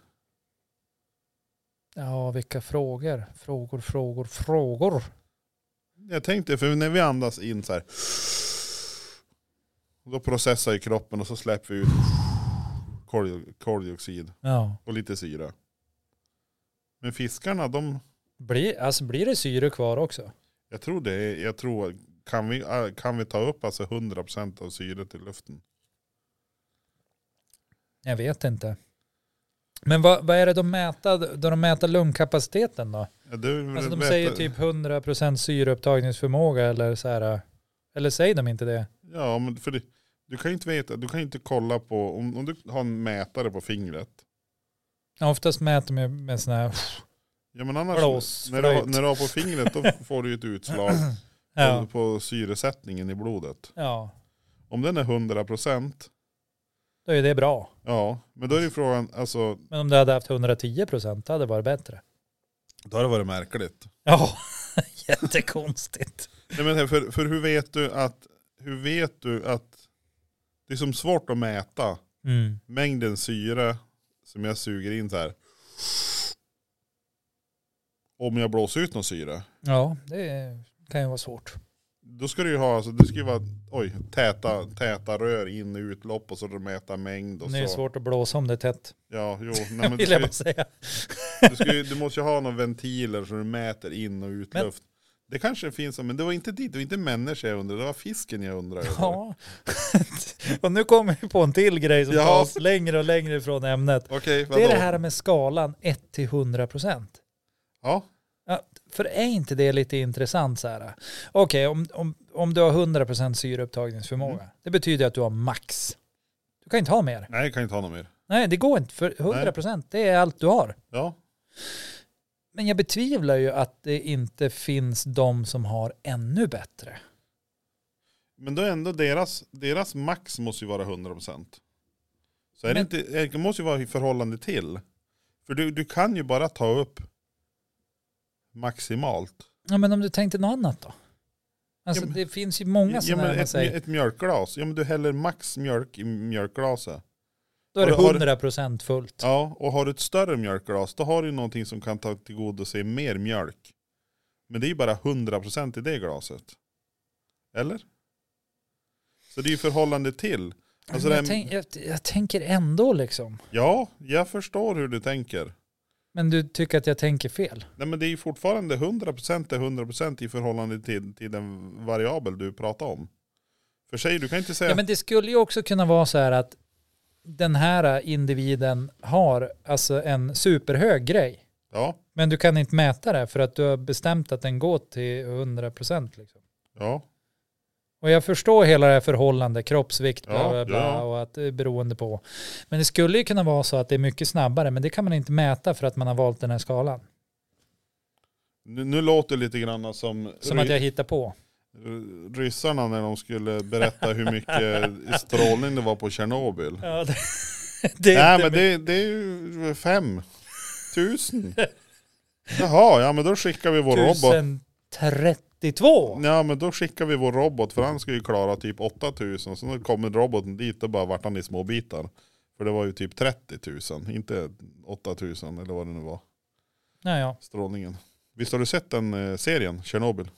Speaker 2: Ja, vilka frågor. Frågor, frågor, frågor.
Speaker 1: Jag tänkte, för när vi andas in så här. Då processar ju kroppen och så släpper vi ut koldio- koldioxid
Speaker 2: Ja.
Speaker 1: och lite syre. Men fiskarna, de,
Speaker 2: Blir, alltså, blir det syre kvar också?
Speaker 1: jag tror det är, jag tror, kan vi, äh, kan vi ta upp alltså 100% av syret i luften?
Speaker 2: Jag vet inte. Men vad, vad är det de mäter, då de mäter lungkapaciteten då?
Speaker 1: Ja, det är väl
Speaker 2: Alltså de
Speaker 1: vet-
Speaker 2: säger typ 100% syreupptagningsförmåga eller så här. Eller säger de inte det?
Speaker 1: Ja, men för det, du kan ju inte veta, du kan ju inte kolla på, om, om du har en mätare på fingret.
Speaker 2: Ja, oftast mäter de ju med sådana här...
Speaker 1: Ja men annars,
Speaker 2: Blås,
Speaker 1: när du, har-
Speaker 2: flöjt.
Speaker 1: när du har på fingret då får du ju ett utslag
Speaker 2: Ja.
Speaker 1: på, på syresättningen i blodet.
Speaker 2: ja,
Speaker 1: Om den är 100 procent,
Speaker 2: då är det bra.
Speaker 1: ja, men då är ju frågan, alltså,
Speaker 2: Men om du hade haft 110 procent hade det varit bättre.
Speaker 1: då har det varit märkligt.
Speaker 2: Ja, jättekonstigt.
Speaker 1: Nej, men för, för hur vet du att, hur vet du att, det är som svårt att mäta
Speaker 2: Mm.
Speaker 1: mängden syre som jag suger in så här. Om jag blåser ut någon syre.
Speaker 2: Ja, det kan ju vara svårt.
Speaker 1: Då ska du ju ha, alltså, det ska ju vara, oj, täta, täta rör in och utlopp och så mäta mängd och
Speaker 2: Det är
Speaker 1: så.
Speaker 2: svårt att blåsa om det är tätt,
Speaker 1: Ja, jo, nej, men du
Speaker 2: vill
Speaker 1: ska
Speaker 2: jag
Speaker 1: ju
Speaker 2: bara säga.
Speaker 1: Du, ska ju, du måste ju ha några ventiler så du mäter in och ut
Speaker 2: Men-
Speaker 1: luft. Det kanske finns, men det var inte dit, det var inte människor jag undrade, det var fisken jag undrade. över.
Speaker 2: Ja, och nu kommer vi på en till grej som
Speaker 1: Ja.
Speaker 2: tar oss längre och längre ifrån ämnet.
Speaker 1: Okej,
Speaker 2: Det är
Speaker 1: vadå?
Speaker 2: det här med skalan 1 till 100 procent.
Speaker 1: Ja,
Speaker 2: För är inte det lite intressant så här? Okej, om, om, om du har 100 procent syreupptagningsförmåga,
Speaker 1: Mm.
Speaker 2: det betyder att du har max. Du kan inte ha mer.
Speaker 1: nej jag kan inte ha något mer.
Speaker 2: Nej, det går inte. För 100 procent, det är allt du har.
Speaker 1: Ja,
Speaker 2: Men jag betvivlar ju att det inte finns de som har ännu bättre.
Speaker 1: men då är ändå deras, deras max måste ju vara 100%. Så är
Speaker 2: Men-
Speaker 1: det inte, eh, det måste ju vara i förhållande till. För du, du kan ju bara ta upp maximalt.
Speaker 2: Ja, men om du tänkte något annat då? Alltså
Speaker 1: Ja, men-
Speaker 2: det finns ju många
Speaker 1: ja,
Speaker 2: sådana
Speaker 1: men
Speaker 2: här, man
Speaker 1: ett,
Speaker 2: säger,
Speaker 1: ett mjölkglas, ja men du häller max mjölk i mjölkglaset.
Speaker 2: då är det
Speaker 1: har du- har du-
Speaker 2: 100 procent fullt.
Speaker 1: Ja, och har du ett större mjölkglas då har du någonting som kan ta tillgodose mer mjölk. Men det är ju bara 100% i det glaset. Eller? Så det är ju förhållande till. Alltså
Speaker 2: Men
Speaker 1: det
Speaker 2: jag,
Speaker 1: är-
Speaker 2: tänk, jag, jag tänker ändå liksom.
Speaker 1: Ja, jag förstår hur du tänker.
Speaker 2: Men du tycker att jag tänker fel?
Speaker 1: Nej men det är ju fortfarande 100% är 100% i förhållande till, till den variabel du pratar om. För sig, du kan inte säga...
Speaker 2: Ja, men det skulle ju också kunna vara så här att den här individen har alltså en superhög grej.
Speaker 1: ja,
Speaker 2: Men du kan inte mäta det för att du har bestämt att den går till 100%. Liksom.
Speaker 1: ja.
Speaker 2: Och jag förstår hela det här förhållandet, kroppsvikt,
Speaker 1: Ja,
Speaker 2: bla, bla, bla,
Speaker 1: ja.
Speaker 2: och att det är beroende på. Men det skulle ju kunna vara så att det är mycket snabbare, men det kan man inte mäta för att man har valt den här skalan.
Speaker 1: Nu, nu låter det lite grann som,
Speaker 2: Som att jag hittar på.
Speaker 1: ry- Eh, ryssarna när de skulle berätta hur mycket strålning det var på Tjernobyl.
Speaker 2: Ja, det, det är
Speaker 1: Nej
Speaker 2: inte
Speaker 1: men
Speaker 2: mycket.
Speaker 1: det, det är ju fem tusen. Jaha, ja men då skickar vi vår robot.
Speaker 2: 1032.
Speaker 1: Ja men då skickar vi vår robot för han ska ju klara typ 8000. Så då kommer roboten dit och bara vart han i små bitar. För det var ju typ 30 000, inte 8000 eller vad det nu var.
Speaker 2: Ja, ja.
Speaker 1: Strålningen. Visst har du sett den eh, serien, Tjernobyl?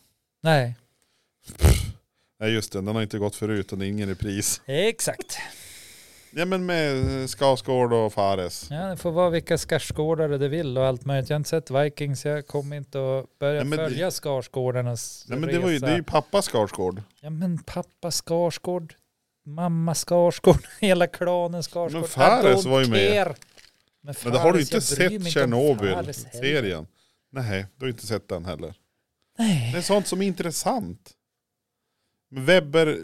Speaker 2: Nej,
Speaker 1: Nej just det, den har inte gått förut och det är ingen repris.
Speaker 2: exakt.
Speaker 1: Ja men med eh, Skarsgård och Fares.
Speaker 2: Ja, det får vara vilka Skarsgårdare det vill och allt möjligt. Jag har inte sett Vikings, jag kommer inte att börja
Speaker 1: Nej, men det-
Speaker 2: följa Skarsgårdarnas
Speaker 1: Nej men
Speaker 2: resa.
Speaker 1: det, var ju, det är ju pappa Skarsgård.
Speaker 2: Ja men pappa Skarsgård, mamma Skarsgård, hela klanen Skarsgård.
Speaker 1: Men Fares
Speaker 2: I don't
Speaker 1: var ju med.
Speaker 2: care. Men,
Speaker 1: Men då har du
Speaker 2: Fares,
Speaker 1: inte
Speaker 2: jag bryr mig
Speaker 1: sett
Speaker 2: inte om
Speaker 1: Tjernobyl,
Speaker 2: Fares heller.
Speaker 1: serien? Nej, du har inte sett den heller. Det
Speaker 2: Nej.
Speaker 1: är sånt som är intressant. Webber,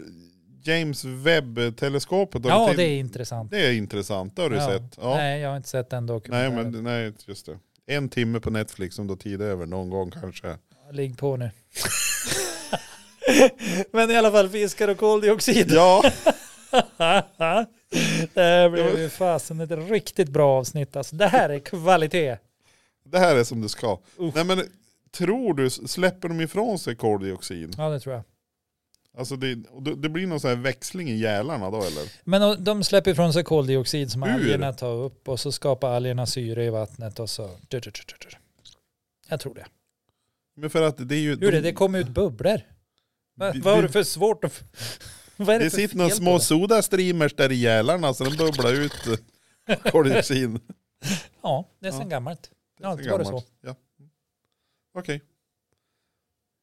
Speaker 1: James Webb-teleskopet. har
Speaker 2: Ja
Speaker 1: du till-
Speaker 2: det är intressant.
Speaker 1: det är intressant, det har du
Speaker 2: Ja.
Speaker 1: sett. Ja. Nej,
Speaker 2: Nej jag har inte sett den
Speaker 1: nej,
Speaker 2: dokumentären.
Speaker 1: men, nej, just det. En timme på Netflix om du har tid över någon gång kanske.
Speaker 2: Ligg på nu. men i alla fall fiskar och koldioxid.
Speaker 1: Ja,
Speaker 2: det här blev ju fasen ett riktigt bra avsnitt. Alltså, det här är kvalitet.
Speaker 1: det här är som det ska.
Speaker 2: Uff.
Speaker 1: Nej men tror du, släpper de ifrån sig koldioxid?
Speaker 2: Ja det tror jag.
Speaker 1: Alltså det, och det det blir någon sån här växling i gälarna då eller?
Speaker 2: Men och de släpper ifrån sig koldioxid som
Speaker 1: Ur?
Speaker 2: algerna tar upp och så skapar algerna syre i vattnet och så... Jag tror det.
Speaker 1: Men för att det är ju...
Speaker 2: Hur det, det kom ut bubblor. Va,
Speaker 1: Vi-
Speaker 2: vad har
Speaker 1: vi-
Speaker 2: du för svårt att... Vad är det,
Speaker 1: Det
Speaker 2: för
Speaker 1: sitter några
Speaker 2: fel på
Speaker 1: små
Speaker 2: det?
Speaker 1: sodastreamers där i gälarna så de bubblar ut eh, koldioxid.
Speaker 2: Ja, det är sedan
Speaker 1: Ja.
Speaker 2: gammalt. Ja,
Speaker 1: så
Speaker 2: det var det
Speaker 1: gammalt. Ja. Okej.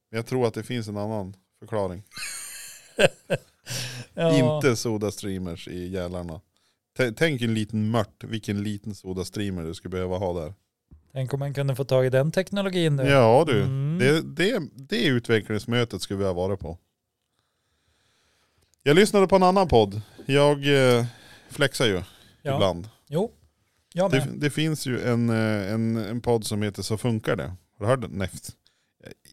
Speaker 1: Men jag tror att det finns en annan förklaring.
Speaker 2: Ja.
Speaker 1: Inte sodastreamers i gälarna. T- Tänk en liten mört, vilken liten sodastreamer du skulle behöva ha där.
Speaker 2: Tänk om man kunde få tag i den teknologin nu.
Speaker 1: Ja du,
Speaker 2: Mm.
Speaker 1: det, det, det utvecklingsmötet skulle vi ha varit på. Jag lyssnade på en annan podd. Jag eh, flexar ju
Speaker 2: Ja.
Speaker 1: ibland.
Speaker 2: Jo, jag
Speaker 1: Det,
Speaker 2: med.
Speaker 1: det finns ju en, eh, en, en podd som heter Så funkar det. Har du hört den? Nej.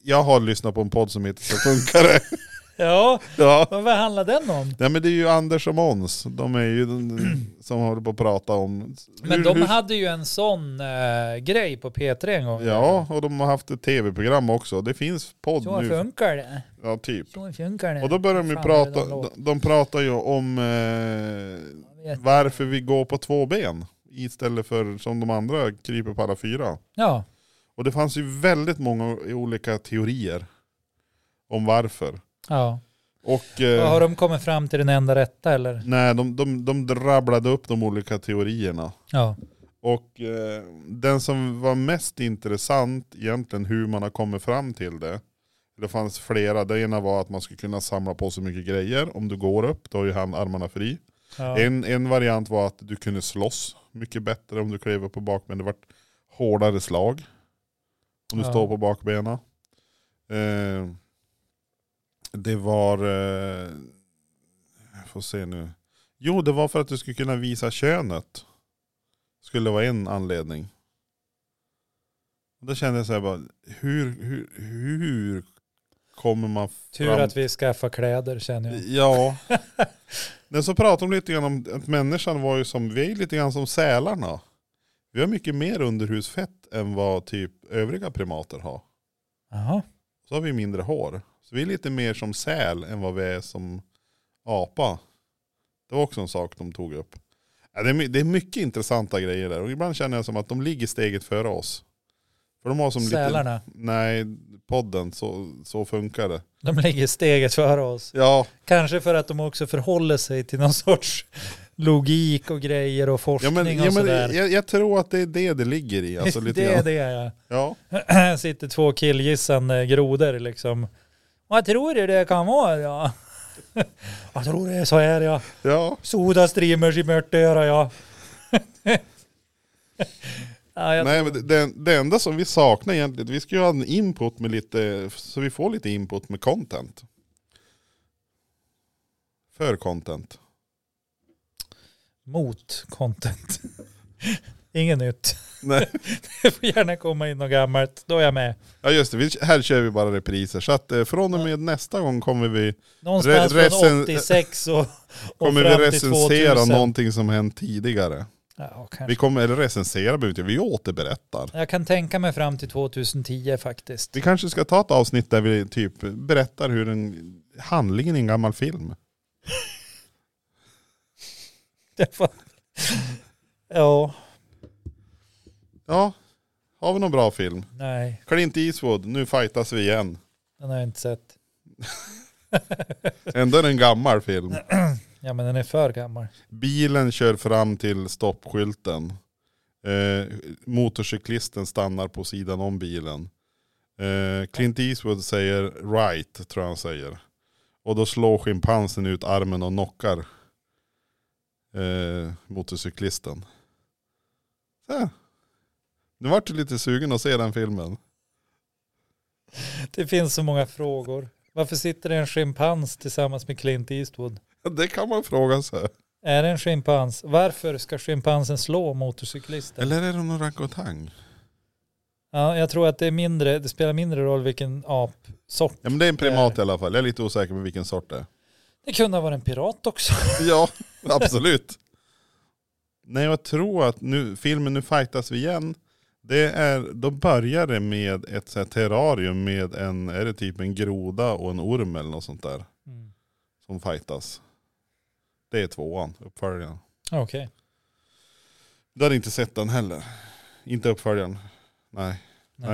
Speaker 1: Jag har lyssnat på en podd som heter Så funkar det.
Speaker 2: Ja,
Speaker 1: Ja.
Speaker 2: men vad handlar den om?
Speaker 1: Nej men det är ju Anders och Måns. De är ju den, som håller på att prata om...
Speaker 2: Men de hade ju en sån eh, grej på P3 en gång.
Speaker 1: Ja, och de har haft ett tv-program också. Det finns podd
Speaker 2: Så
Speaker 1: nu.
Speaker 2: funkar det.
Speaker 1: Ja, typ.
Speaker 2: Så funkar det.
Speaker 1: Och då börjar de ju
Speaker 2: Fan,
Speaker 1: prata,
Speaker 2: är det någon låt?
Speaker 1: de, de pratar ju om eh,
Speaker 2: Jag vet.
Speaker 1: varför vi går på två ben istället för som de andra kryper på alla fyra.
Speaker 2: Ja,
Speaker 1: Och det fanns ju väldigt många olika teorier om varför.
Speaker 2: ja.
Speaker 1: Och
Speaker 2: Och
Speaker 1: eh,
Speaker 2: Har de kommit fram till den enda rätta eller?
Speaker 1: nej, de, de, de rabblade upp de olika teorierna.
Speaker 2: Ja.
Speaker 1: Och eh, den som var mest intressant egentligen hur man har kommit fram till det. Det fanns flera. Det ena var att man skulle kunna samla på så mycket grejer om du går upp. Då har ju han armarna fri.
Speaker 2: ja.
Speaker 1: En, en variant var att du kunde slåss mycket bättre om du klev upp på bakbenen. Det var hårdare slag om du
Speaker 2: Ja.
Speaker 1: står på bakbenen. Eh, det var... Eh, jag får se nu. Jo, det var för att du skulle kunna visa könet. Skulle vara en anledning. Och Då kände jag så här bara, hur, hur, hur kommer man
Speaker 2: Tur
Speaker 1: fram
Speaker 2: att vi skaffar kläder känner jag.
Speaker 1: Ja. Men så pratar de lite grann om att människan var ju som, vi är lite grann som sälarna. Vi har mycket mer underhusfett än vad typ övriga primater har.
Speaker 2: Jaha.
Speaker 1: Så har vi mindre hår. Så vi är lite mer som säl än vad vi är som apa. Det var också en sak de tog upp. Ja, det, är, my- det är mycket intressanta grejer där. Och ibland känner jag som att de ligger steget före oss. För de har som lite...
Speaker 2: Sälarna.
Speaker 1: Nej, podden, så, så funkar det.
Speaker 2: De ligger steget före oss.
Speaker 1: Ja,
Speaker 2: Kanske för att de också förhåller sig till någon sorts logik och grejer och
Speaker 1: ja
Speaker 2: forskning
Speaker 1: men, ja,
Speaker 2: och
Speaker 1: men
Speaker 2: sådär.
Speaker 1: jag, jag tror att det är det det ligger i. Alltså, lite
Speaker 2: det är
Speaker 1: grann.
Speaker 2: det ja.
Speaker 1: Ja.
Speaker 2: Här sitter två killgissande grodor liksom. Vad tror du det kan vara? Ja. Vad tror du det är så här ja.
Speaker 1: ja,
Speaker 2: Soda streamers i mört öra ja. ja jag,
Speaker 1: Nej, men det- det, det enda som vi saknar egentligen, vi ska ju ha en input med lite, så vi får lite input med content. För content.
Speaker 2: Mot content. Inget nytt.
Speaker 1: Nej.
Speaker 2: Det får gärna komma in något gammalt. Då är jag med.
Speaker 1: Ja just det, vi, här kör vi bara repriser. Så att eh, från och med nästa gång kommer vi,
Speaker 2: Någonstans
Speaker 1: Re-
Speaker 2: från
Speaker 1: recen-
Speaker 2: 86 och, och
Speaker 1: kommer vi
Speaker 2: fram
Speaker 1: recensera
Speaker 2: till 2000.
Speaker 1: någonting som hänt tidigare.
Speaker 2: Ja,
Speaker 1: Vi
Speaker 2: kanske.
Speaker 1: kommer, eller recensera behöver vi inte, vi återberättar.
Speaker 2: Jag kan tänka mig fram till 2010 faktiskt.
Speaker 1: Vi kanske ska ta ett avsnitt där vi typ berättar hur en, handlingen i en gammal film.
Speaker 2: Det var- ja,
Speaker 1: Ja, har vi någon bra film?
Speaker 2: nej,
Speaker 1: Clint Eastwood, nu fightas vi igen.
Speaker 2: den har jag inte sett.
Speaker 1: Ändå är det en gammal film.
Speaker 2: Ja, men den är för gammal.
Speaker 1: Bilen kör fram till stoppskylten. Eh, motorcyklisten stannar på sidan om bilen. Eh, Clint Eastwood säger right, tror jag han säger. Och då slår schimpansen ut armen och knockar eh, motorcyklisten. Så. här. Nu vart du lite sugen att se den filmen.
Speaker 2: Det finns så många frågor. Varför sitter det en schimpans tillsammans med Clint Eastwood?
Speaker 1: Det kan man fråga sig.
Speaker 2: Är det en schimpans? Varför ska schimpansen slå motorcyklisten?
Speaker 1: Eller är det någon orangutang?
Speaker 2: Ja, jag tror att det, är mindre, det spelar mindre roll vilken apsort.
Speaker 1: Ja men det är en primat i alla fall. Jag är lite osäker på vilken sort det är.
Speaker 2: Det kunde ha varit en pirat också.
Speaker 1: Ja, absolut. Nej, jag tror att nu, filmen Nu fightas vi igen, det är, då börjar det med ett så här terrarium med en, är det typ en groda och en orm eller något sånt där
Speaker 2: Mm.
Speaker 1: som fightas. Det är tvåan, uppföljaren.
Speaker 2: Okej.
Speaker 1: Du har inte sett den heller? Inte uppföljaren? Nej. Nej.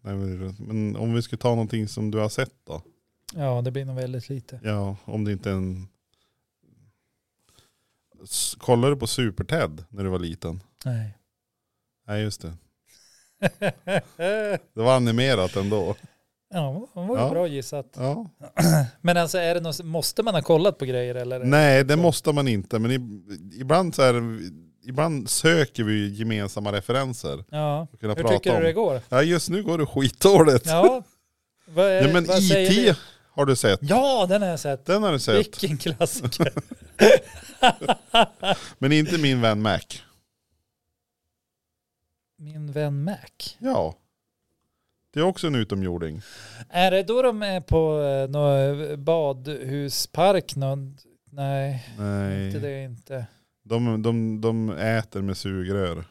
Speaker 1: Nej. men- Men om vi skulle ta någonting som du har sett då?
Speaker 2: Ja, det blir nog väldigt lite.
Speaker 1: Ja, om det inte är en... S- Kollade du på Super-Ted när du var liten?
Speaker 2: Nej.
Speaker 1: Nej just det. Det var animerat ändå.
Speaker 2: ja, det var ju
Speaker 1: Ja.
Speaker 2: bra gissat.
Speaker 1: Ja.
Speaker 2: Men alltså, är det något, måste man ha kollat på grejer eller?
Speaker 1: Nej det måste man inte. Men i- ibland, så här, ibland söker vi ju gemensamma referenser.
Speaker 2: Ja.
Speaker 1: Att kunna
Speaker 2: Hur
Speaker 1: prata
Speaker 2: tycker
Speaker 1: om.
Speaker 2: du det går?
Speaker 1: Ja just nu går det skitdåligt. Ja,
Speaker 2: Ja. Vad är,
Speaker 1: men
Speaker 2: vad säger du?
Speaker 1: IT har du sett.
Speaker 2: Ja, den har jag sett.
Speaker 1: Den har du sett.
Speaker 2: Vilken klassiker.
Speaker 1: Men inte min vän Mac.
Speaker 2: Min vän Mac.
Speaker 1: Ja. Det är också en utomjording.
Speaker 2: Är det då de är på eh, någon badhuspark? Någon? Nej, inte
Speaker 1: Nej.
Speaker 2: det inte.
Speaker 1: De, de, de äter med sugrör.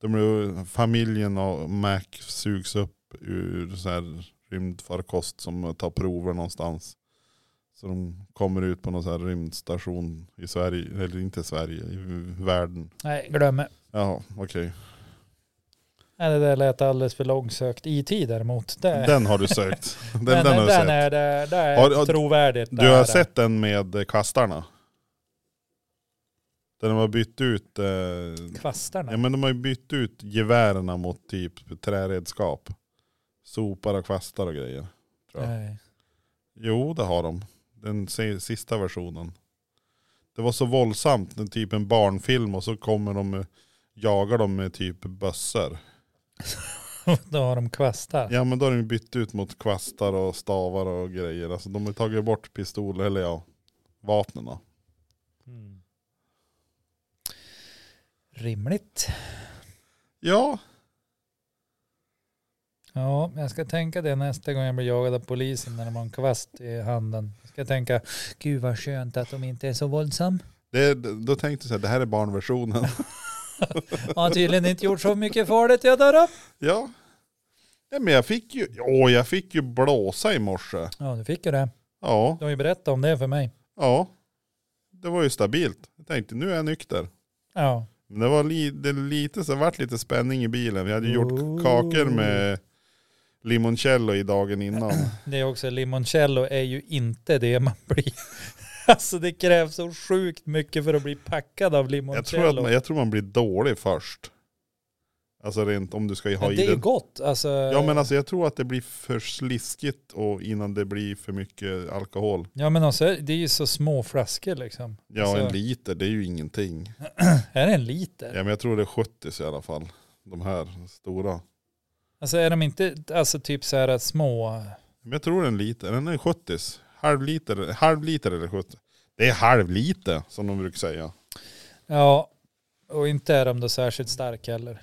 Speaker 1: De, blir- familjen och Mac sugs upp ur så här rymdfarkost som tar prover någonstans. Så de kommer ut på någon så här rymdstation i Sverige, eller inte Sverige, i världen.
Speaker 2: Nej, glöm det.
Speaker 1: Ja, okej.
Speaker 2: Nej, det där lät alldeles för långsökt. IT däremot. Det,
Speaker 1: Den har du sökt. Den, den, har du
Speaker 2: den
Speaker 1: sett.
Speaker 2: är, det, det är
Speaker 1: Har- har-
Speaker 2: trovärdigt.
Speaker 1: Du
Speaker 2: Det
Speaker 1: har
Speaker 2: är det.
Speaker 1: sett den med eh, kvastarna? Där de har bytt ut eh,
Speaker 2: Kvastarna.
Speaker 1: Ja men de har ju bytt ut gevärerna mot typ träredskap. Sopar och kvastar och grejer. bra.
Speaker 2: Nej.
Speaker 1: Jo det har de. Den se- sista versionen. Det var så våldsamt, den typ en barnfilm och så kommer de med- jagar de med typ bössor.
Speaker 2: Då har de kvastar.
Speaker 1: Ja men då har de ju bytt ut mot kvastar och stavar och grejer. Alltså de har tagit bort pistoler, eller ja, vapnen då.
Speaker 2: Mm. Rimligt.
Speaker 1: Ja,
Speaker 2: Ja, jag ska tänka det nästa gång jag blir jagad av polisen när de har en kvast i handen. Jag ska tänka, gud vad skönt att de inte är så våldsam.
Speaker 1: det, då tänkte jag så här, det här är barnversionen.
Speaker 2: Har tydligen inte gjort så mycket farligt jag där då.
Speaker 1: Ja. Nej, men jag fick ju, åh, jag fick ju blåsa i morse.
Speaker 2: Ja, du fick ju det.
Speaker 1: Ja,
Speaker 2: Du har ju berättat om det för mig.
Speaker 1: ja. Det var ju stabilt. Jag tänkte nu är jag nykter.
Speaker 2: Ja,
Speaker 1: Men
Speaker 2: Oh.
Speaker 1: det var li, det är lite så det vart lite spänning i bilen. Vi hade ju gjort
Speaker 2: Ooh.
Speaker 1: kakor med limoncello i dagen innan.
Speaker 2: Det är också, limoncello är ju inte det man blir. Alltså det krävs så sjukt mycket för att bli packad
Speaker 1: Jag
Speaker 2: av
Speaker 1: tror, att
Speaker 2: limoncello.
Speaker 1: man, jag tror man blir dålig först. Alltså rent om du ska ha
Speaker 2: Men
Speaker 1: i
Speaker 2: det är ju
Speaker 1: den.
Speaker 2: gott. Alltså,
Speaker 1: Ja men alltså jag tror att det blir för sliskigt och innan det blir för mycket alkohol.
Speaker 2: ja, men också, det är ju så små flaskor liksom.
Speaker 1: Ja
Speaker 2: Alltså-
Speaker 1: en liter det är ju ingenting.
Speaker 2: Är det en liter?
Speaker 1: Ja men jag tror det är 70 i alla fall. De här stora.
Speaker 2: Alltså är de inte alltså, typ så här att små?
Speaker 1: Men jag tror en liter, den är 70. Halv liter, halv liter eller 70. Det är halv liter som de brukar säga.
Speaker 2: Ja, och inte är de då särskilt starka heller.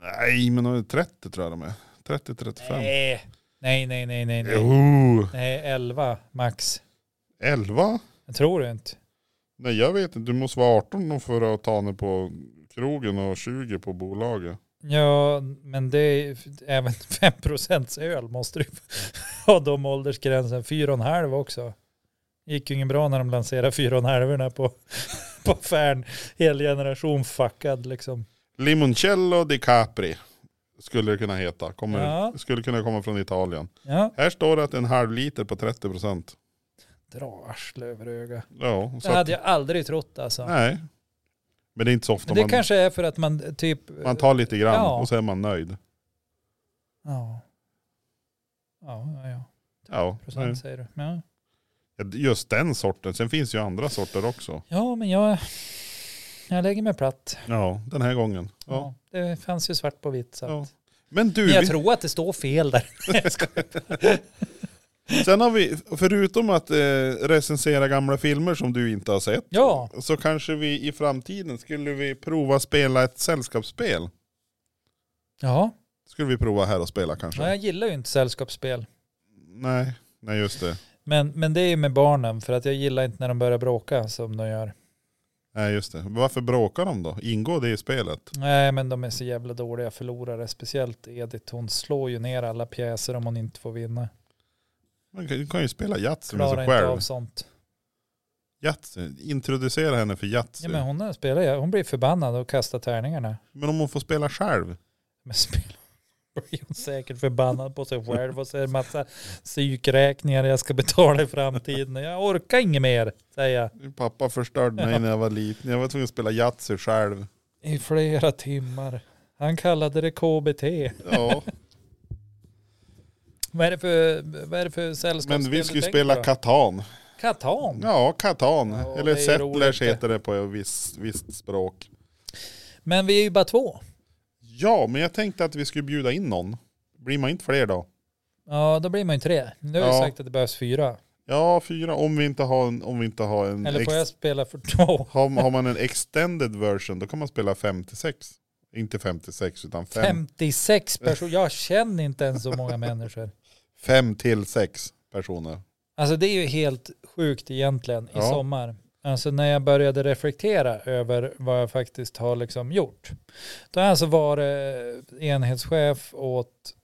Speaker 1: Nej men de är 30 tror jag de är. 30-35.
Speaker 2: Nej, nej, nej, nej, nej. nej.
Speaker 1: Jo,
Speaker 2: Nej, 11 max.
Speaker 1: 11?
Speaker 2: Jag tror inte.
Speaker 1: Nej jag vet inte, du måste vara 18 för att ta henne på krogen och 20 på bolaget.
Speaker 2: Ja, men det är även 5 öl måste du ha de åldersgränsen. 4,5 också. Gick ju ingen bra när de lanserade 4,5 på, på Färn. Hel generation fuckad liksom.
Speaker 1: Limoncello di Capri skulle det kunna heta. Kommer,
Speaker 2: Ja.
Speaker 1: Skulle kunna komma från Italien.
Speaker 2: Ja,
Speaker 1: Här står det att det är en halv liter på 30 procent.
Speaker 2: dra arsle över öga.
Speaker 1: Ja, så
Speaker 2: Det hade
Speaker 1: att,
Speaker 2: jag aldrig trott alltså.
Speaker 1: nej. Men det är inte så ofta
Speaker 2: Men det
Speaker 1: man,
Speaker 2: kanske är för att man typ...
Speaker 1: man tar lite grann
Speaker 2: Ja.
Speaker 1: och så är man nöjd.
Speaker 2: Ja. Ja, ja, ja.
Speaker 1: Ja,
Speaker 2: Procent
Speaker 1: nej.
Speaker 2: säger du. Ja.
Speaker 1: just den sorten. Sen finns ju andra sorter också.
Speaker 2: ja, men jag... Jag lägger mig platt.
Speaker 1: Ja, den här gången.
Speaker 2: Ja.
Speaker 1: Ja.
Speaker 2: det fanns ju svart på vitt. Så. att-
Speaker 1: Ja. Men du,
Speaker 2: Men jag
Speaker 1: vi-
Speaker 2: tror att det står fel där.
Speaker 1: sen har vi, förutom att eh, recensera gamla filmer som du inte har sett,
Speaker 2: Ja,
Speaker 1: så kanske vi i framtiden skulle vi prova spela ett sällskapsspel.
Speaker 2: ja.
Speaker 1: Skulle vi prova här och spela kanske?
Speaker 2: ja jag gillar ju inte sällskapsspel.
Speaker 1: Nej, nej just det.
Speaker 2: Men, men det är ju med barnen för att jag gillar inte när de börjar bråka som de gör.
Speaker 1: Nej, just det. Varför bråkar de då? Ingår det i spelet?
Speaker 2: Nej men de är så jävla dåliga förlorare. Speciellt Edith, hon slår ju ner alla pjäser om hon inte får vinna.
Speaker 1: Man kan, du kan ju spela Yatzy med
Speaker 2: Klarar
Speaker 1: sig
Speaker 2: inte
Speaker 1: själv.
Speaker 2: av sånt.
Speaker 1: Yatzy, introducera henne för Yatzy.
Speaker 2: Ja,
Speaker 1: men,
Speaker 2: men hon, har spelat, hon blir förbannad och kastar tärningarna.
Speaker 1: om hon får spela själv?
Speaker 2: Men spel blir hon säkert förbannad på sig själv och så är det massa psykräkningar jag ska betala i framtiden. Jag orkar inget mer, säger jag.
Speaker 1: Min Pappa förstörde mig när jag var liten. Jag var tvungen att spela Yatzy själv.
Speaker 2: I flera timmar. Han kallade det KBT.
Speaker 1: Ja.
Speaker 2: Vad är det för, vad är det för sällskapsspel
Speaker 1: Men vi skulle
Speaker 2: du
Speaker 1: spela
Speaker 2: tänker på?
Speaker 1: Katan.
Speaker 2: Katan.
Speaker 1: Ja, Katan.
Speaker 2: Ja,
Speaker 1: Eller
Speaker 2: det är roligt
Speaker 1: Settlers
Speaker 2: det.
Speaker 1: heter det på ett visst, visst språk.
Speaker 2: Men vi är ju bara två.
Speaker 1: Ja, men jag tänkte att vi skulle bjuda in någon. Blir man inte fler då?
Speaker 2: Ja, då blir man ju tre. Nu har
Speaker 1: Ja.
Speaker 2: jag sagt att det behövs fyra.
Speaker 1: Ja, fyra. Om vi inte har en... Om vi inte har en
Speaker 2: Eller
Speaker 1: ex-
Speaker 2: får jag spela för två?
Speaker 1: Har, har man en extended version då kan man spela 56. Inte 56 utan 5
Speaker 2: 56 personer. Jag känner inte ens så många människor.
Speaker 1: fem till 6 personer.
Speaker 2: Alltså det är ju helt sjukt egentligen i
Speaker 1: Ja.
Speaker 2: sommar. Alltså när jag började reflektera över vad jag faktiskt har liksom gjort. Då har jag alltså varit eh, enhetschef åt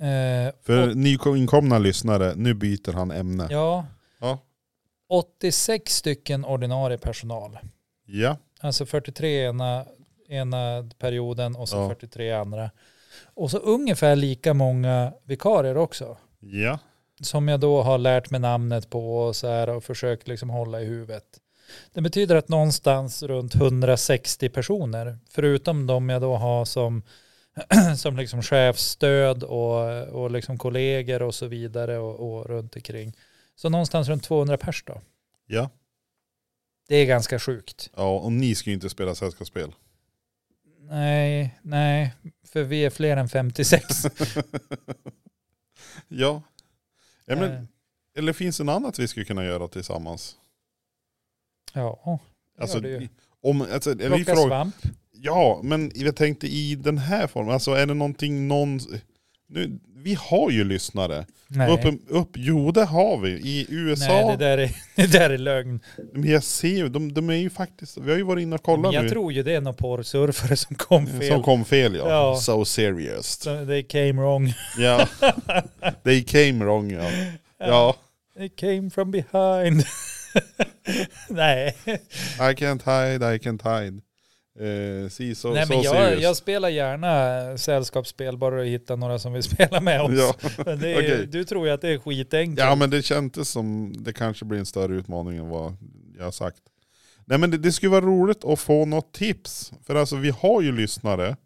Speaker 2: eh,
Speaker 1: För nyinkomna lyssnare, nu byter han ämne. Ja.
Speaker 2: Ja.
Speaker 1: Ja.
Speaker 2: 86 stycken ordinarie personal. Alltså 43 ena, ena perioden och så
Speaker 1: Ja.
Speaker 2: 43 andra. Och så ungefär lika många vikarier också.
Speaker 1: Ja.
Speaker 2: Som jag då har lärt mig namnet på och, så här, och försökt liksom hålla i huvudet. Det betyder att någonstans runt 160 personer, förutom de jag då har som, som liksom chefsstöd och, och liksom kollegor och så vidare och, och runt omkring. Så någonstans runt 200 pers då.
Speaker 1: Ja.
Speaker 2: Det är ganska sjukt.
Speaker 1: Ja, och ni ska ju inte spela sällskapsspel.
Speaker 2: Nej, nej, för vi är fler än 56.
Speaker 1: ja. ja
Speaker 2: Eh,
Speaker 1: men, eller finns det något annat vi skulle kunna göra tillsammans?
Speaker 2: ja, det
Speaker 1: Alltså,
Speaker 2: gör det ju.
Speaker 1: om, alltså, eller vi
Speaker 2: Plocka
Speaker 1: frågar,
Speaker 2: svamp.
Speaker 1: Ja, men jag tänkte i den här formen, alltså är det någonting någon... Nu, vi har ju lyssnare.
Speaker 2: Nej,
Speaker 1: Upp, upp, jo det har vi. I USA,
Speaker 2: nej det, där är, det där är lögn.
Speaker 1: men jag ser ju, de, de är ju faktiskt, vi har ju varit inne och kollat
Speaker 2: Men jag
Speaker 1: nu. Eh,
Speaker 2: tror ju det är någon porrsurfare som kom fel.
Speaker 1: Mm, Som kom fel ja.
Speaker 2: Ja.
Speaker 1: So serious.
Speaker 2: Så They came wrong.
Speaker 1: Ja. They came wrong ja. Ja,
Speaker 2: They came from behind. Nej.
Speaker 1: I can't hide, I can't hide. Eh, si, så,
Speaker 2: Nej,
Speaker 1: så
Speaker 2: men
Speaker 1: serious.
Speaker 2: jag, jag spelar gärna sällskapsspel bara du hittar några som vill spela med oss.
Speaker 1: Ja,
Speaker 2: Men det är,
Speaker 1: okej.
Speaker 2: Du tror ju att det är skitenkelt.
Speaker 1: Ja men det kändes som det kanske blir en större utmaning än vad jag har sagt. Nej men det, det skulle vara roligt att få något tips. För alltså vi har ju lyssnare.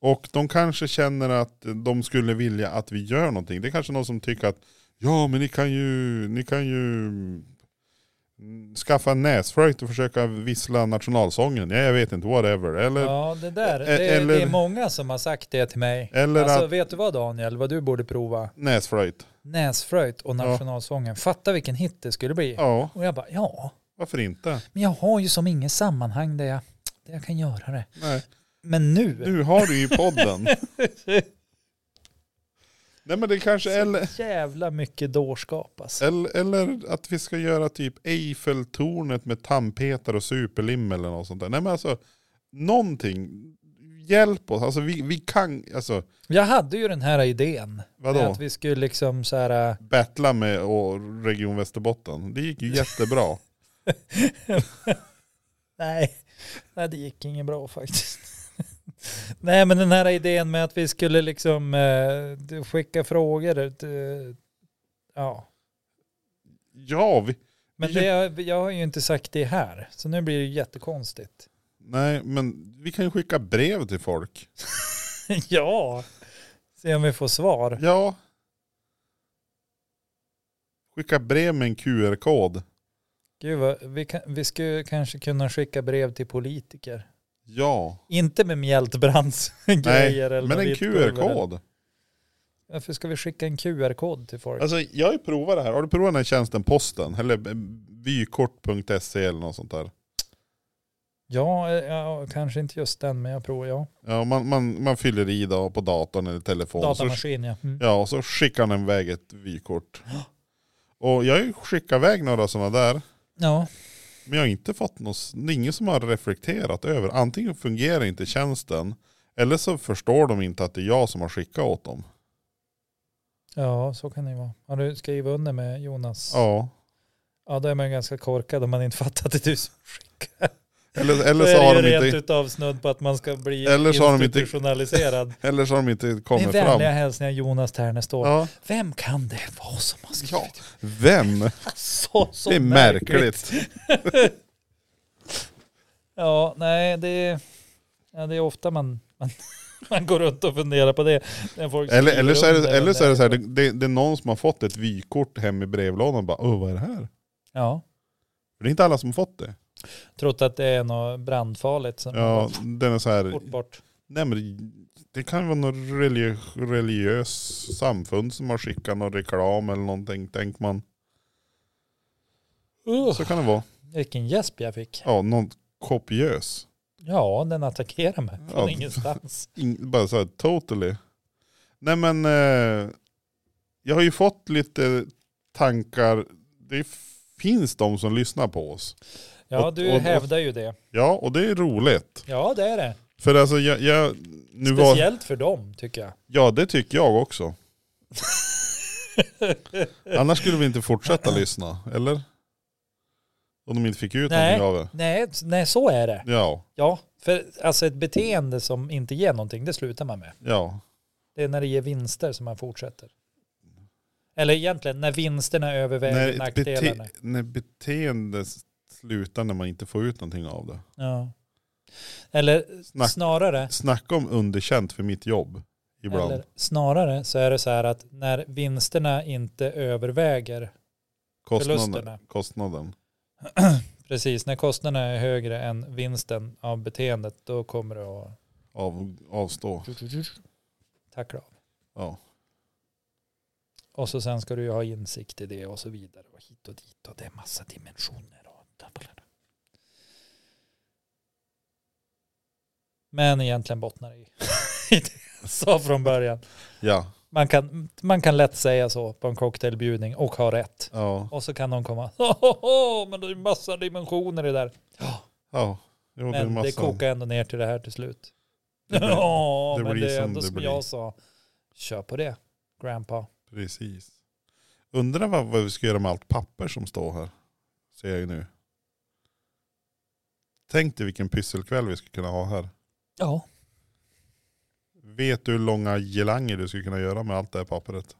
Speaker 1: Och de kanske känner att de skulle vilja att vi gör någonting. Det är kanske någon som tycker att ja men ni kan ju, ni kan ju mm, skaffa en näsflöjt och försöka vissla nationalsången. Ja, jag vet inte, whatever. Eller,
Speaker 2: Ja, det där. Det,
Speaker 1: E- Eller-
Speaker 2: det är många som har sagt det till mig.
Speaker 1: eller
Speaker 2: alltså
Speaker 1: att
Speaker 2: vet du vad Daniel, vad du borde prova?
Speaker 1: näsflöjt.
Speaker 2: Näsflöjt och nationalsången. Fatta vilken hit det skulle bli.
Speaker 1: Ja,
Speaker 2: Och jag bara, ja,
Speaker 1: varför inte?
Speaker 2: men jag har ju som inget sammanhang där jag, där jag kan göra det.
Speaker 1: Nej.
Speaker 2: Men nu,
Speaker 1: Nu har du ju podden. Nej men det kanske, eller,
Speaker 2: så jävla mycket dårskap alltså.
Speaker 1: eller, eller att vi ska göra typ Eiffeltornet med tandpetare och superlim eller något sånt där. Nej men alltså, någonting. Hjälp oss, alltså vi, vi kan, alltså
Speaker 2: Jag hade ju den här idén.
Speaker 1: vadå?
Speaker 2: Att vi skulle liksom så här,
Speaker 1: Battla med och Region Västerbotten. Det gick ju jättebra.
Speaker 2: eh, nej, nej det gick inget bra faktiskt. nej men den här idén med att vi skulle liksom eh, skicka frågor. eh, ja.
Speaker 1: Ja, vi,
Speaker 2: Men det, jag har ju inte sagt det här, så nu blir det ju jättekonstigt.
Speaker 1: nej men vi kan ju skicka brev till folk.
Speaker 2: ja, se om vi får svar.
Speaker 1: Ja. Skicka brev med en QR-kod.
Speaker 2: Gud, vad, vi, kan, vi skulle kanske kunna skicka brev till politiker.
Speaker 1: Ja.
Speaker 2: Inte med mjältbrands
Speaker 1: Nej,
Speaker 2: grejer eller
Speaker 1: men en
Speaker 2: vittgåvor eller-
Speaker 1: QR-kod.
Speaker 2: Varför ska vi skicka en QR-kod till folk?
Speaker 1: Alltså jag har ju provat det här. Har du provat den här tjänsten posten? Eller eh, vykort.se E eller något sånt där.
Speaker 2: Ja, eh, ja, kanske inte just den, men jag provar. Ja.
Speaker 1: Ja, man, man, man fyller i då på datorn eller telefon. Så,
Speaker 2: Datamaskin, ja. Mm.
Speaker 1: ja, och så skickar den iväg ett vykort. Och jag har ju skickat iväg några sådana där.
Speaker 2: ja.
Speaker 1: Men jag har inte fått något, det är ingen som har reflekterat över. Antingen fungerar inte tjänsten. Eller så förstår de inte att det är jag som har skickat åt dem.
Speaker 2: Ja, så kan det ju vara. Har du skrivit under med Jonas?
Speaker 1: Ja.
Speaker 2: Ja, då är man ju ganska korkad om man inte fattat att det är du som skickar.
Speaker 1: Eller, eller,
Speaker 2: Eller
Speaker 1: så,
Speaker 2: så
Speaker 1: har
Speaker 2: är det ju
Speaker 1: de
Speaker 2: rent
Speaker 1: inte,
Speaker 2: utav snudd på att man ska bli
Speaker 1: Eller så har de inte-
Speaker 2: institutionaliserad.
Speaker 1: eller så har de inte
Speaker 2: Med
Speaker 1: kommit fram.
Speaker 2: vänliga hälsningar Jonas Ternestor.
Speaker 1: Ja.
Speaker 2: Vem kan det vara som har skrivit?
Speaker 1: Ja. Vem?
Speaker 2: Så, så
Speaker 1: det är märkligt.
Speaker 2: Ja, nej, det är, ja, det är ofta man, man, man går runt och funderar på det. När folk
Speaker 1: Eller,
Speaker 2: skriver
Speaker 1: eller, så är
Speaker 2: under
Speaker 1: det, eller så är det så här,
Speaker 2: när-
Speaker 1: det, det, det är någon som har fått ett vykort hem i brevlådan och bara åh vad är det här?
Speaker 2: Ja,
Speaker 1: För det är inte alla som har fått det.
Speaker 2: trott att det är något brandfarligt som
Speaker 1: Ja, den är så här,
Speaker 2: bort bort.
Speaker 1: nej men det, det kan vara något religiös, religiös samfund som har skickat någon reklam eller någonting, tänker man.
Speaker 2: Uh,
Speaker 1: Så kan det vara.
Speaker 2: vilken gäsp jag fick.
Speaker 1: Ja, någon kopiös.
Speaker 2: Ja, den attackerar mig från
Speaker 1: Ja.
Speaker 2: ingenstans.
Speaker 1: In, bara så här, totally. Nej men, eh, jag har ju fått lite tankar. Det finns de som lyssnar på oss.
Speaker 2: Ja,
Speaker 1: Och-
Speaker 2: du
Speaker 1: och- och-
Speaker 2: hävdar ju det.
Speaker 1: Ja, och det är roligt.
Speaker 2: Ja, det är det.
Speaker 1: För alltså jag, jag nu var,
Speaker 2: Speciellt för dem, tycker jag.
Speaker 1: Ja, det tycker jag också. Annars skulle vi inte fortsätta lyssna, eller? Om de inte fick ut
Speaker 2: Nej.
Speaker 1: någonting av det.
Speaker 2: Nej, nej, så är det.
Speaker 1: Ja,
Speaker 2: Ja, för alltså ett beteende som inte ger någonting, det slutar man med.
Speaker 1: ja.
Speaker 2: Det är när det ger vinster som man fortsätter. Eller egentligen när vinsterna
Speaker 1: När,
Speaker 2: överväger
Speaker 1: ett
Speaker 2: nackdelarna.
Speaker 1: bete, när beteende s- slutar när man inte får ut någonting av det.
Speaker 2: Ja. Eller
Speaker 1: Snack-
Speaker 2: snarare,
Speaker 1: Snacka om underkänt för mitt jobb ibland.
Speaker 2: eller snarare så är det så här att när vinsterna inte överväger,
Speaker 1: Kostnaden.
Speaker 2: förlusterna.
Speaker 1: Kostnaden.
Speaker 2: precis när kostnaderna är högre än vinsten av beteendet, då kommer det att
Speaker 1: Av, avstå.
Speaker 2: tackla av.
Speaker 1: Ja.
Speaker 2: Och så sen ska du ju ha insikt i det och så vidare och hit och dit och det är massa dimensioner. Och blablabla. Men egentligen bottnar det i i det jag sa från början.
Speaker 1: Ja.
Speaker 2: Man kan, man kan lätt säga så på en cocktailbjudning och ha rätt.
Speaker 1: Ja.
Speaker 2: Och så kan någon komma, "Hohoho, men det är massa dimensioner i det där.
Speaker 1: ja. Jo, det är
Speaker 2: Men det
Speaker 1: massa-
Speaker 2: kokar ändå ner till det här till slut.
Speaker 1: Det blir-
Speaker 2: Ja,
Speaker 1: det
Speaker 2: men
Speaker 1: blir
Speaker 2: det är
Speaker 1: som
Speaker 2: ändå
Speaker 1: det
Speaker 2: som
Speaker 1: blir.
Speaker 2: jag sa. Kör på det, grandpa.
Speaker 1: Precis. Undrar vad, vad vi ska göra med allt papper som står här. Ser jag ju nu. Tänk dig vilken pysselkväll vi skulle kunna ha här.
Speaker 2: Ja.
Speaker 1: Vet du hur långa gelanger du skulle kunna göra med allt det här pappret?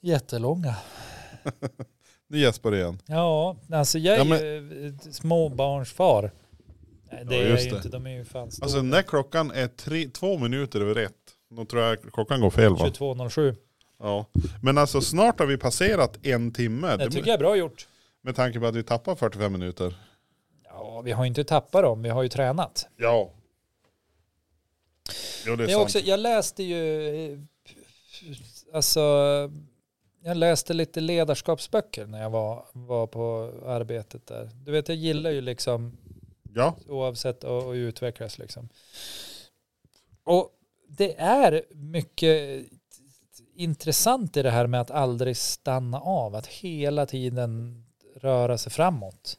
Speaker 2: Jättelånga.
Speaker 1: Nu gäspar det igen.
Speaker 2: Ja, alltså jag är
Speaker 1: Ja, men-
Speaker 2: ju eh, småbarnsfar. Nej, det
Speaker 1: Ja,
Speaker 2: är jag
Speaker 1: just
Speaker 2: ju
Speaker 1: det.
Speaker 2: inte. De är ju fan stora.
Speaker 1: Alltså när klockan är tre, två minuter över ett, då tror jag klockan går fel va?
Speaker 2: 22.07.
Speaker 1: Ja. Men alltså snart har vi passerat en timme.
Speaker 2: Det
Speaker 1: Det,
Speaker 2: tycker jag är bra gjort.
Speaker 1: med tanke på att vi tappar 45 minuter.
Speaker 2: Ja, vi har ju inte tappat dem. Vi har ju tränat.
Speaker 1: Ja. Jo det är
Speaker 2: Men
Speaker 1: sant.
Speaker 2: jag, också, jag läste ju, eh, alltså, jag läste lite ledarskapsböcker när jag var, var på arbetet där. Du vet, jag gillar ju liksom
Speaker 1: Ja.
Speaker 2: oavsett och, och utvecklas liksom. Och det är mycket intressant i det här med att aldrig stanna av, att hela tiden röra sig framåt.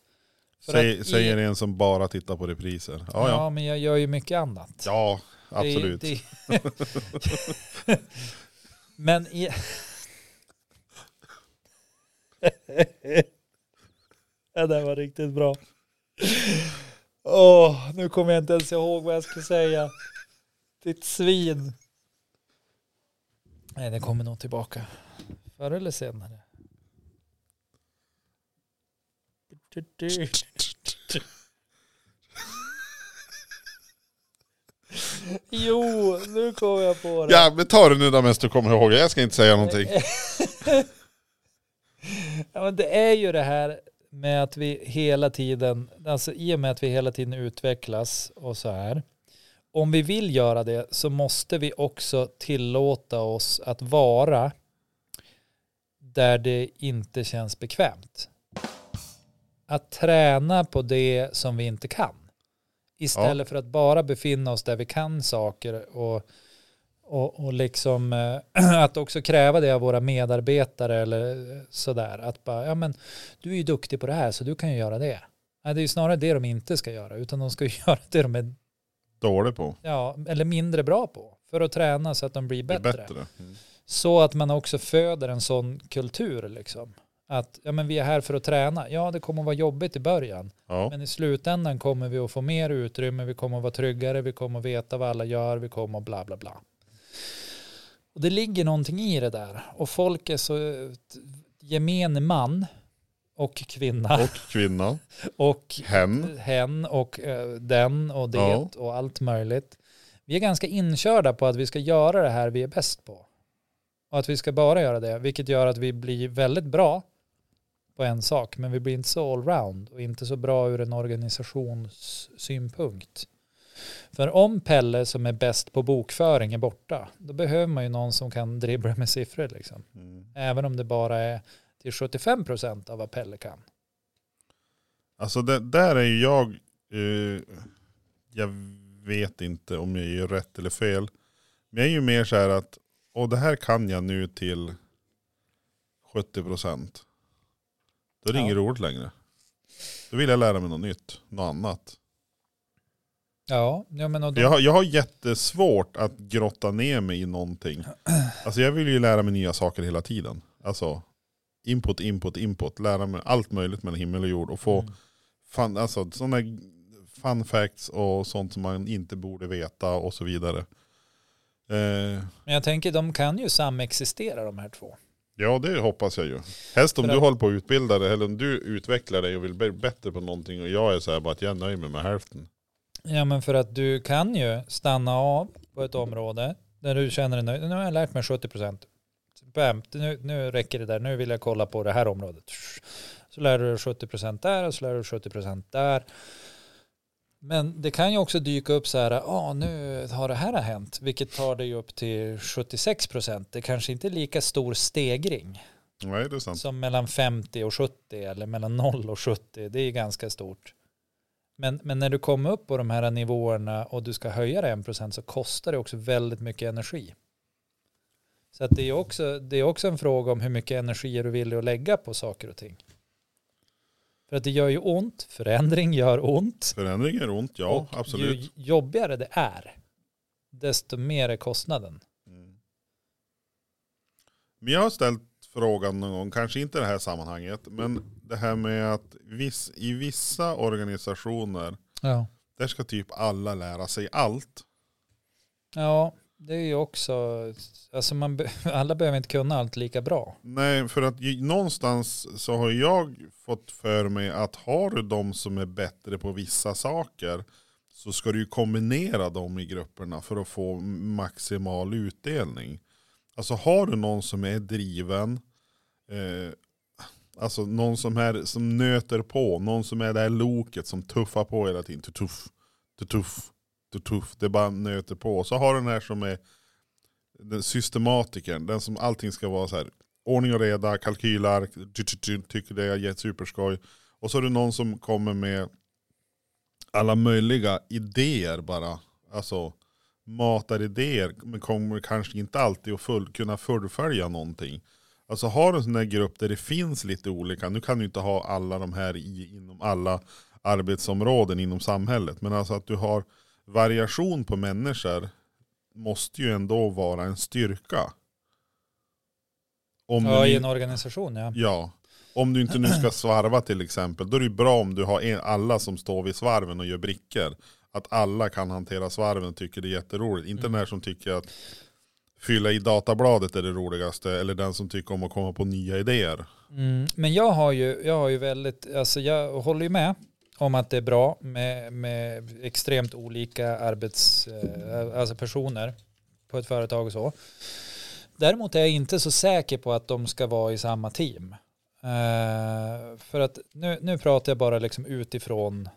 Speaker 2: För
Speaker 1: Säg,
Speaker 2: att i-
Speaker 1: Säger en som bara tittar på repriser. Ja ja.
Speaker 2: men jag gör ju mycket annat.
Speaker 1: Ja absolut.
Speaker 2: Det är- det- men i... det där var riktigt bra. Åh, nu kommer jag inte ens ihåg vad jag skulle säga. Ditt svin. Nej, det kommer nog tillbaka. Förr eller senare. Jo, nu kommer jag på det.
Speaker 1: Ja men ta det nu där mest du kommer ihåg. Jag ska inte säga någonting.
Speaker 2: ja, men det är ju det här med att vi hela tiden, alltså i och med att vi hela tiden utvecklas och så här. Om vi vill göra det så måste vi också tillåta oss att vara där det inte känns bekvämt. Att träna på det som vi inte kan. Istället för att bara befinna oss där vi kan saker och och, och liksom eh, att också kräva det av våra medarbetare eller eh, sådär. Att bara, ja men du är ju duktig på det här så du kan ju göra det. Nej, det är ju snarare det de inte ska göra, utan de ska ju göra det de är,
Speaker 1: Dålig på.
Speaker 2: ja, eller mindre bra på. För att träna så att de blir
Speaker 1: Det är
Speaker 2: bättre.
Speaker 1: bättre. Mm.
Speaker 2: Så att man också föder en sån kultur liksom. Att, ja men vi är här för att träna. Ja, det kommer att vara jobbigt i början.
Speaker 1: Ja.
Speaker 2: Men i slutändan kommer vi att få mer utrymme, vi kommer att vara tryggare, vi kommer att veta vad alla gör, vi kommer att bla bla bla. Och det ligger någonting i det där. Och folk är så eh, gemene man och kvinna
Speaker 1: Och kvinna.
Speaker 2: och
Speaker 1: Hen.
Speaker 2: hen och eh, den och det
Speaker 1: Ja.
Speaker 2: och allt möjligt. Vi är ganska inkörda på att vi ska göra det här vi är bäst på. Och att vi ska bara göra det, vilket gör att vi blir väldigt bra på en sak, men vi blir inte så allround och inte så bra ur en organisationssynpunkt. För om Pelle som är bäst på bokföring är borta, då behöver man ju någon som kan dribbla med siffror liksom.
Speaker 1: Mm.
Speaker 2: Även om det bara är till 75% av vad Pelle kan.
Speaker 1: Alltså det, där är ju jag, eh, jag vet inte om jag gör rätt eller fel. Men jag är ju mer så här att, och det här kan jag nu till 70 procent. Då är det
Speaker 2: Ja.
Speaker 1: inget roligt längre. Då vill jag lära mig något nytt, något annat.
Speaker 2: Ja, ja men och då,
Speaker 1: För Jag, har- jag har jättesvårt att grotta ner mig i någonting. Alltså jag vill ju lära mig nya saker hela tiden. Alltså input, input, input. Lära mig allt möjligt mellan himmel och jord. Och få
Speaker 2: Mm.
Speaker 1: fun, alltså, sådana fun facts och sånt som man inte borde veta och så vidare. Eh,
Speaker 2: Men jag tänker de kan ju samexistera de här två.
Speaker 1: ja det hoppas jag ju. Helst om
Speaker 2: För
Speaker 1: du
Speaker 2: att-
Speaker 1: håller på att utbilda dig eller om du utvecklar dig och vill bli bättre på någonting och jag är så här bara att jag är nöjd med mig hälften.
Speaker 2: Ja men för att du kan ju stanna av på ett område där du känner dig nöjd. Nu har jag lärt mig 70 procent. Nu, nu räcker det där, nu vill jag kolla på det här området. Så lär du dig 70 procent där och så lär du dig 70 procent där. Men det kan ju också dyka upp så här, ja ah, nu har det här hänt, vilket tar dig upp till 76 procent. Det kanske inte är lika stor stegring.
Speaker 1: Nej det är sant.
Speaker 2: Som mellan 50 och 70 eller mellan 0 och 70, det är ganska stort. Men, men när du kommer upp på de här nivåerna och du ska höja det 1% så kostar det också väldigt mycket energi. Så att det, är också, det är också en fråga om hur mycket energi är du villig att lägga på saker och ting. För att det gör ju ont, förändring gör ont.
Speaker 1: Förändring är ont, ja
Speaker 2: och
Speaker 1: absolut.
Speaker 2: ju jobbigare det är, desto mer är kostnaden.
Speaker 1: Mm. Men jag har ställt frågan någon gång, kanske inte i det här sammanhanget, men det här med att viss, i vissa organisationer,
Speaker 2: Ja.
Speaker 1: där ska typ alla lära sig allt.
Speaker 2: ja, det är ju också, alltså man, be- alla behöver inte kunna allt lika bra.
Speaker 1: Nej, för att ju- någonstans så har jag fått för mig att har du de som är bättre på vissa saker så ska du ju kombinera dem i grupperna för att få maximal utdelning. Alltså har du någon som är driven, eh, alltså någon som, är, som nöter på, någon som är det här loket som tuffar på hela tiden, tu tuff, tu tuff, tu tuff, det bara nöter på. Så har du den här som är den systematikern, den som allting ska vara så här ordning och reda, kalkylark, ty- ty- ty- tycker det är superskoj. Och så är det någon som kommer med alla möjliga idéer bara. Alltså matar idéer men kommer kanske inte alltid att full, kunna fullfölja någonting. Alltså har du en sån där grupp där det finns lite olika, nu kan du inte ha alla de här i, inom alla arbetsområden inom samhället, men alltså att du har variation på människor måste ju ändå vara en styrka. Om
Speaker 2: Ja,
Speaker 1: den
Speaker 2: i
Speaker 1: in-
Speaker 2: en organisation ja.
Speaker 1: Ja. Om du inte nu ska svarva till exempel, då är det ju bra om du har en, alla som står vid svarven och gör brickor. Att alla kan hantera svarven och tycker det är jätteroligt. Inte den här som tycker att fylla i databladet är det roligaste, eller den som tycker om att komma på nya idéer.
Speaker 2: Mm, men jag har ju, jag har ju väldigt, alltså jag håller ju med om att det är bra med, med extremt olika arbets, eh, alltså personer på ett företag och så. Däremot är jag inte så säker på att de ska vara i samma team. Eh, för att nu, nu pratar jag bara liksom utifrån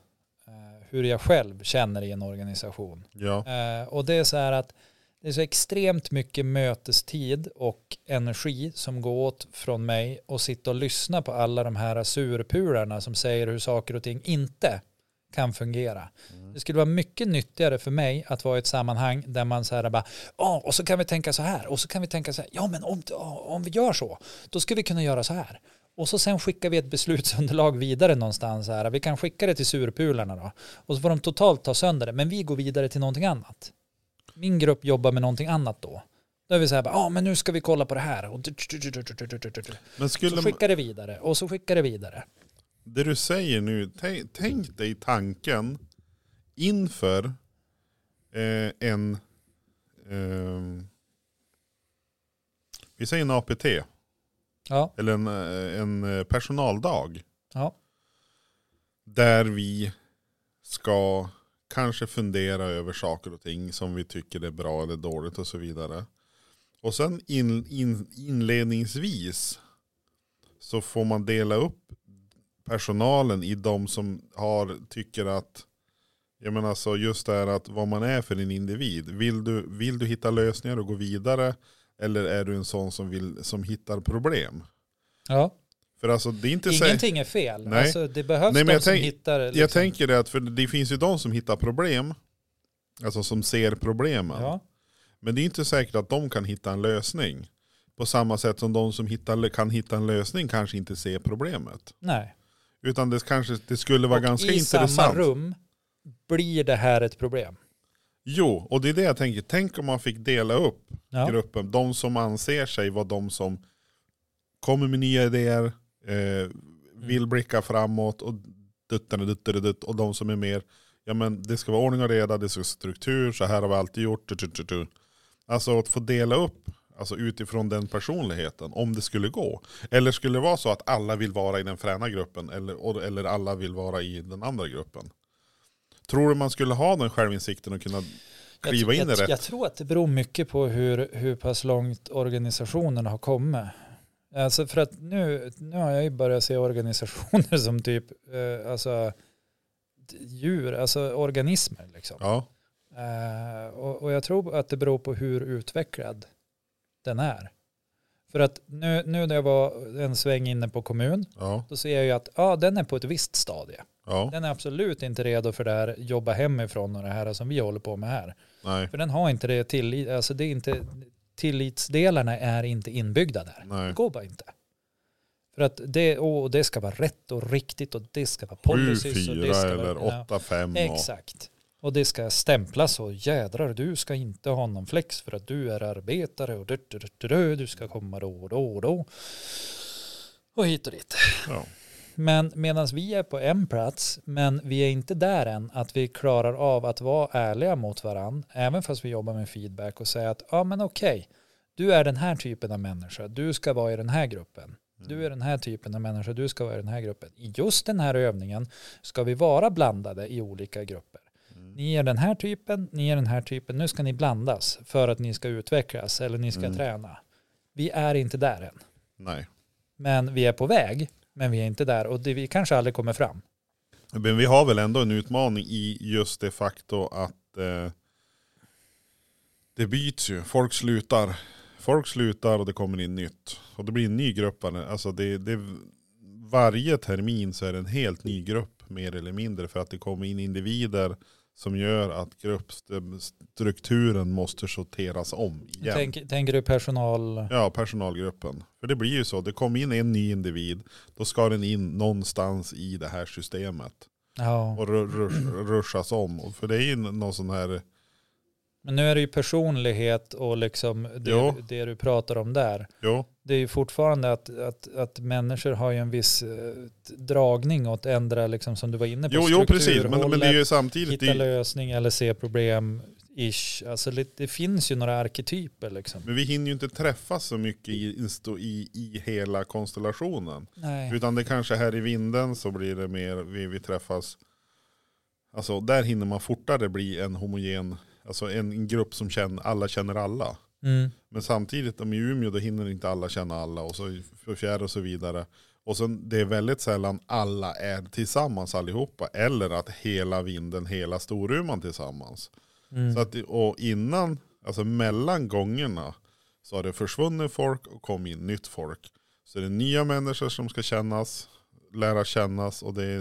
Speaker 2: eh, hur jag själv känner i en organisation.
Speaker 1: Ja,
Speaker 2: Eh, och det är så här att det är så extremt mycket mötestid och energi som går åt från mig och sitta och lyssna på alla de här surpularna som säger hur saker och ting inte kan fungera. Det skulle vara mycket nyttigare för mig att vara i ett sammanhang där man så här bara, ja, och så kan vi tänka så här, och så kan vi tänka så här, ja men om, ja, om vi gör så, då skulle vi kunna göra så här. Och så sen skickar vi ett beslutsunderlag vidare någonstans här, vi kan skicka det till surpularna då. Och så får de totalt ta sönder det, men vi går vidare till någonting annat. Min grupp jobbar med någonting annat då. Då är vi så här, ja ah, men nu ska vi kolla på det här. Och du- du- du- du- du- du- du- du- du- du.
Speaker 1: men
Speaker 2: Så
Speaker 1: skulle,
Speaker 2: skickar det vidare och så skickar det vidare.
Speaker 1: det du säger nu, tänk, tänk dig tanken inför eh, en, ehm, vi säger en APT,
Speaker 2: Ja,
Speaker 1: eller en, eh, en eh, personaldag.
Speaker 2: ja,
Speaker 1: Där vi ska kanske fundera över saker och ting som vi tycker är bra eller dåligt och så vidare. Och sen in, in, inledningsvis så får man dela upp personalen i de som har, tycker att, jag menar så just det här att vad man är för en individ. Vill du, vill du hitta lösningar och gå vidare eller är du en sån som, vill, som hittar problem?
Speaker 2: ja.
Speaker 1: För alltså det är inte säkert-
Speaker 2: Ingenting är fel.
Speaker 1: Nej.
Speaker 2: Alltså, det behövs
Speaker 1: Nej, men
Speaker 2: de
Speaker 1: jag
Speaker 2: som
Speaker 1: tänk-
Speaker 2: hittar...
Speaker 1: Jag
Speaker 2: liksom-
Speaker 1: tänker det att för det finns ju de som hittar problem. Alltså som ser problemen.
Speaker 2: ja.
Speaker 1: Men det är inte säkert att de kan hitta en lösning. På samma sätt som de som hittar, kan hitta en lösning kanske inte ser problemet.
Speaker 2: Nej.
Speaker 1: Utan det, kanske, det skulle vara
Speaker 2: Och
Speaker 1: ganska
Speaker 2: i samma
Speaker 1: intressant.
Speaker 2: rum blir det här ett problem.
Speaker 1: Jo, och det är det jag tänker. Tänk om man fick dela upp
Speaker 2: Ja,
Speaker 1: gruppen. De som anser sig vara de som kommer med nya idéer, eh, vill blicka framåt och duttare, duttare, dutt, och de som är mer, ja men det ska vara ordning och reda, det ska vara struktur, så här har vi alltid gjort. Tu, tu, tu, tu. Alltså att få dela upp alltså utifrån den personligheten, om det skulle gå. Eller skulle det vara så att alla vill vara i den fräna gruppen, eller, och- eller alla vill vara i den andra gruppen? Tror du man skulle ha den självinsikten och kunna
Speaker 2: jag,
Speaker 1: kliva in i
Speaker 2: jag,
Speaker 1: rätt?
Speaker 2: jag tror att det beror mycket på hur, hur pass långt organisationen har kommit. Alltså för att nu, nu har jag ju börjat se organisationer som typ eh, alltså, d- djur, alltså organismer. Liksom.
Speaker 1: Ja,
Speaker 2: Eh, och, och jag tror att det beror på hur utvecklad den är. För att nu, nu när jag var en sväng inne på kommun,
Speaker 1: ja,
Speaker 2: då ser jag ju att ja, den är på ett visst stadie.
Speaker 1: ja,
Speaker 2: Den är absolut inte redo för det här jobba hemifrån och det här som vi håller på med här.
Speaker 1: nej,
Speaker 2: För den har inte det tillit, alltså det är inte, tillitsdelarna är inte inbyggda där. Det
Speaker 1: nej.
Speaker 2: går bara inte. För att det, och det ska vara rätt och riktigt och det ska vara
Speaker 1: 7,
Speaker 2: policies. och det
Speaker 1: 4
Speaker 2: ska
Speaker 1: eller
Speaker 2: vara, ja,
Speaker 1: 8, 5.
Speaker 2: Exakt. Och det ska stämplas och jädrar, du ska inte ha någon flex för att du är arbetare och du, du, du, du, du ska komma då och då och då. Och hit och dit.
Speaker 1: Ja.
Speaker 2: Men medan vi är på en plats, men vi är inte där än, att vi klarar av att vara ärliga mot varandra, även fast vi jobbar med feedback och säga att ja men okej, du är den här typen av människa, du ska vara i den här gruppen.
Speaker 1: Mm.
Speaker 2: Du är den här typen av människa, du ska vara i den här gruppen. I just den här övningen ska vi vara blandade i olika grupper.
Speaker 1: Mm.
Speaker 2: Ni är den här typen, ni är den här typen, nu ska ni blandas för att ni ska utvecklas eller ni ska
Speaker 1: Mm.
Speaker 2: träna. Vi är inte där än,
Speaker 1: Nej.
Speaker 2: men vi är på väg, men vi är inte där och det, vi kanske aldrig kommer fram.
Speaker 1: Men vi har väl ändå en utmaning i just det faktum att eh, det byts ju. Folk slutar. Folk slutar och det kommer in nytt. Och det blir en ny grupp. Alltså det, det, varje termin så är det en helt ny grupp mer eller mindre. För att det kommer in individer som gör att gruppstrukturen måste sorteras om igen.
Speaker 2: Tänk, tänker du personal?
Speaker 1: Ja, personalgruppen. För det blir ju så, det kom in en ny individ, då ska den in någonstans i det här systemet
Speaker 2: Ja.
Speaker 1: och ru- rusch- ruschas om. Och För det är ju någon sån här,
Speaker 2: Men nu är det ju personlighet och liksom det,
Speaker 1: Jo.
Speaker 2: det du pratar om där.
Speaker 1: jo,
Speaker 2: Det är ju fortfarande att, att, att människor har ju en viss eh, dragning åt ändra, liksom som du var inne på,
Speaker 1: jo, jo precis, men, men det är
Speaker 2: strukturhållet,
Speaker 1: ju samtidigt, det
Speaker 2: hitta
Speaker 1: är ju,
Speaker 2: lösning eller se problem, ish. Alltså det, det finns ju några arketyper liksom.
Speaker 1: men vi hinner ju inte träffas så mycket i, i sto- i, i hela konstellationen.
Speaker 2: Nej.
Speaker 1: Utan det kanske här i vinden så blir det mer, vi, vi träffas, alltså där hinner man fortare bli en homogen, alltså en, en grupp som känner, alla känner alla.
Speaker 2: Mm.
Speaker 1: Men samtidigt, om i Umeå då hinner inte alla känna alla och så för fjärde och så vidare. Och sen det är väldigt sällan alla är tillsammans allihopa. Eller att hela vinden, hela Storuman tillsammans.
Speaker 2: Mm.
Speaker 1: Så att, det- och innan, alltså mellan gångerna så har det försvunnit folk och kommit in nytt folk. Så det är nya människor som ska kännas, lära kännas och det är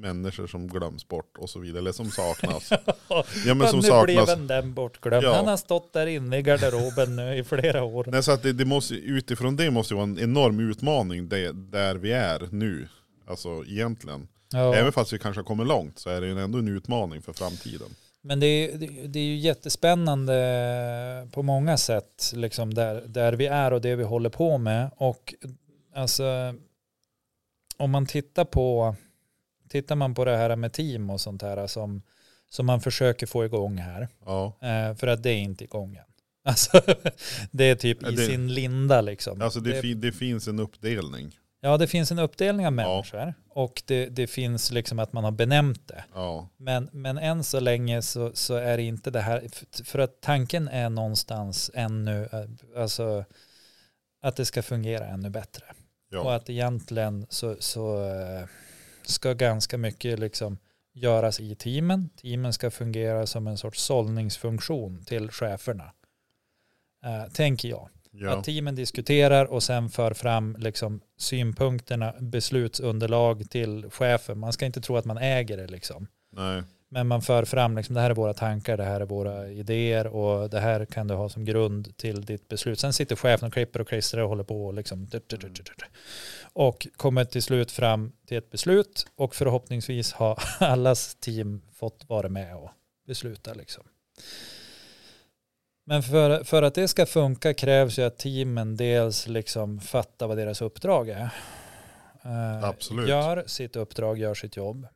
Speaker 1: människor som glöms bort och så vidare. Eller som saknas. ja men som
Speaker 2: nu blev
Speaker 1: saknas.
Speaker 2: en den bortglömd.
Speaker 1: Ja.
Speaker 2: Han har stått där inne i garderoben nu i flera år.
Speaker 1: Nej, så att det, det måste, utifrån det måste ju vara en enorm utmaning det, där vi är nu. Alltså egentligen.
Speaker 2: Ja.
Speaker 1: Även fast vi kanske har kommit långt så är det ju ändå en utmaning för framtiden.
Speaker 2: Men det är, det- det är ju jättespännande på många sätt, liksom där, där vi är och det vi håller på med. Och alltså, om man tittar på, tittar man på det här med team och sånt här som, som man försöker få igång här,
Speaker 1: Ja.
Speaker 2: eh, för att det är inte igång än. Alltså, det är typ
Speaker 1: Ja,
Speaker 2: i
Speaker 1: det-
Speaker 2: sin linda liksom.
Speaker 1: Alltså det,
Speaker 2: Det-
Speaker 1: fin, det finns en uppdelning.
Speaker 2: ja, det finns en uppdelning av
Speaker 1: Ja.
Speaker 2: människor och det, det finns liksom att man har benämnt det.
Speaker 1: Ja.
Speaker 2: Men, men än så länge så, så är det inte det här, f- för att tanken är någonstans ännu, eh, alltså att det ska fungera ännu bättre. Och
Speaker 1: ja.
Speaker 2: att egentligen så, så eh, ska ganska mycket liksom göras i teamen. Teamen ska fungera som en sorts sållningsfunktion till cheferna. Eh, tänker jag.
Speaker 1: ja.
Speaker 2: Att teamen diskuterar och sen för fram liksom synpunkterna, beslutsunderlag till chefen. Man ska inte tro att man äger det liksom.
Speaker 1: Nej.
Speaker 2: Men man för fram, liksom, det här är våra tankar, det här är våra idéer och det här kan du ha som grund till ditt beslut. Sen sitter chefen och klipper och klistrar och håller på och liksom. tut, tut, tut, tut, tut. Och kommer till slut fram till ett beslut och förhoppningsvis har allas team fått vara med och besluta. Liksom. Men för, för att det ska funka krävs ju att teamen dels liksom fattar vad deras uppdrag är. Eh,
Speaker 1: Absolut.
Speaker 2: Gör sitt uppdrag, gör sitt jobb.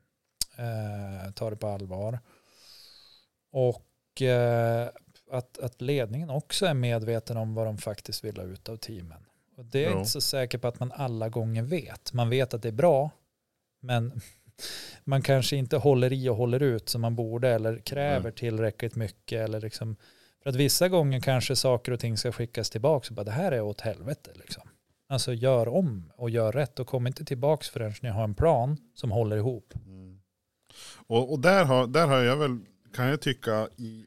Speaker 2: Eh, tar det på allvar. Och eh, att, att ledningen också är medveten om vad de faktiskt vill ha ut av teamen. Och det är jag
Speaker 1: Ja.
Speaker 2: inte så säker på att man alla gånger vet. Man vet att det är bra, men man kanske inte håller i och håller ut som man borde eller kräver
Speaker 1: Nej.
Speaker 2: tillräckligt mycket. Eller liksom, för att vissa gånger kanske saker och ting ska skickas tillbaka och bara det här är åt helvete. Liksom. Alltså gör om och gör rätt och kom inte tillbaka förrän ni har en plan som håller ihop.
Speaker 1: Mm. Och, och där, har, där har jag väl, kan jag tycka, i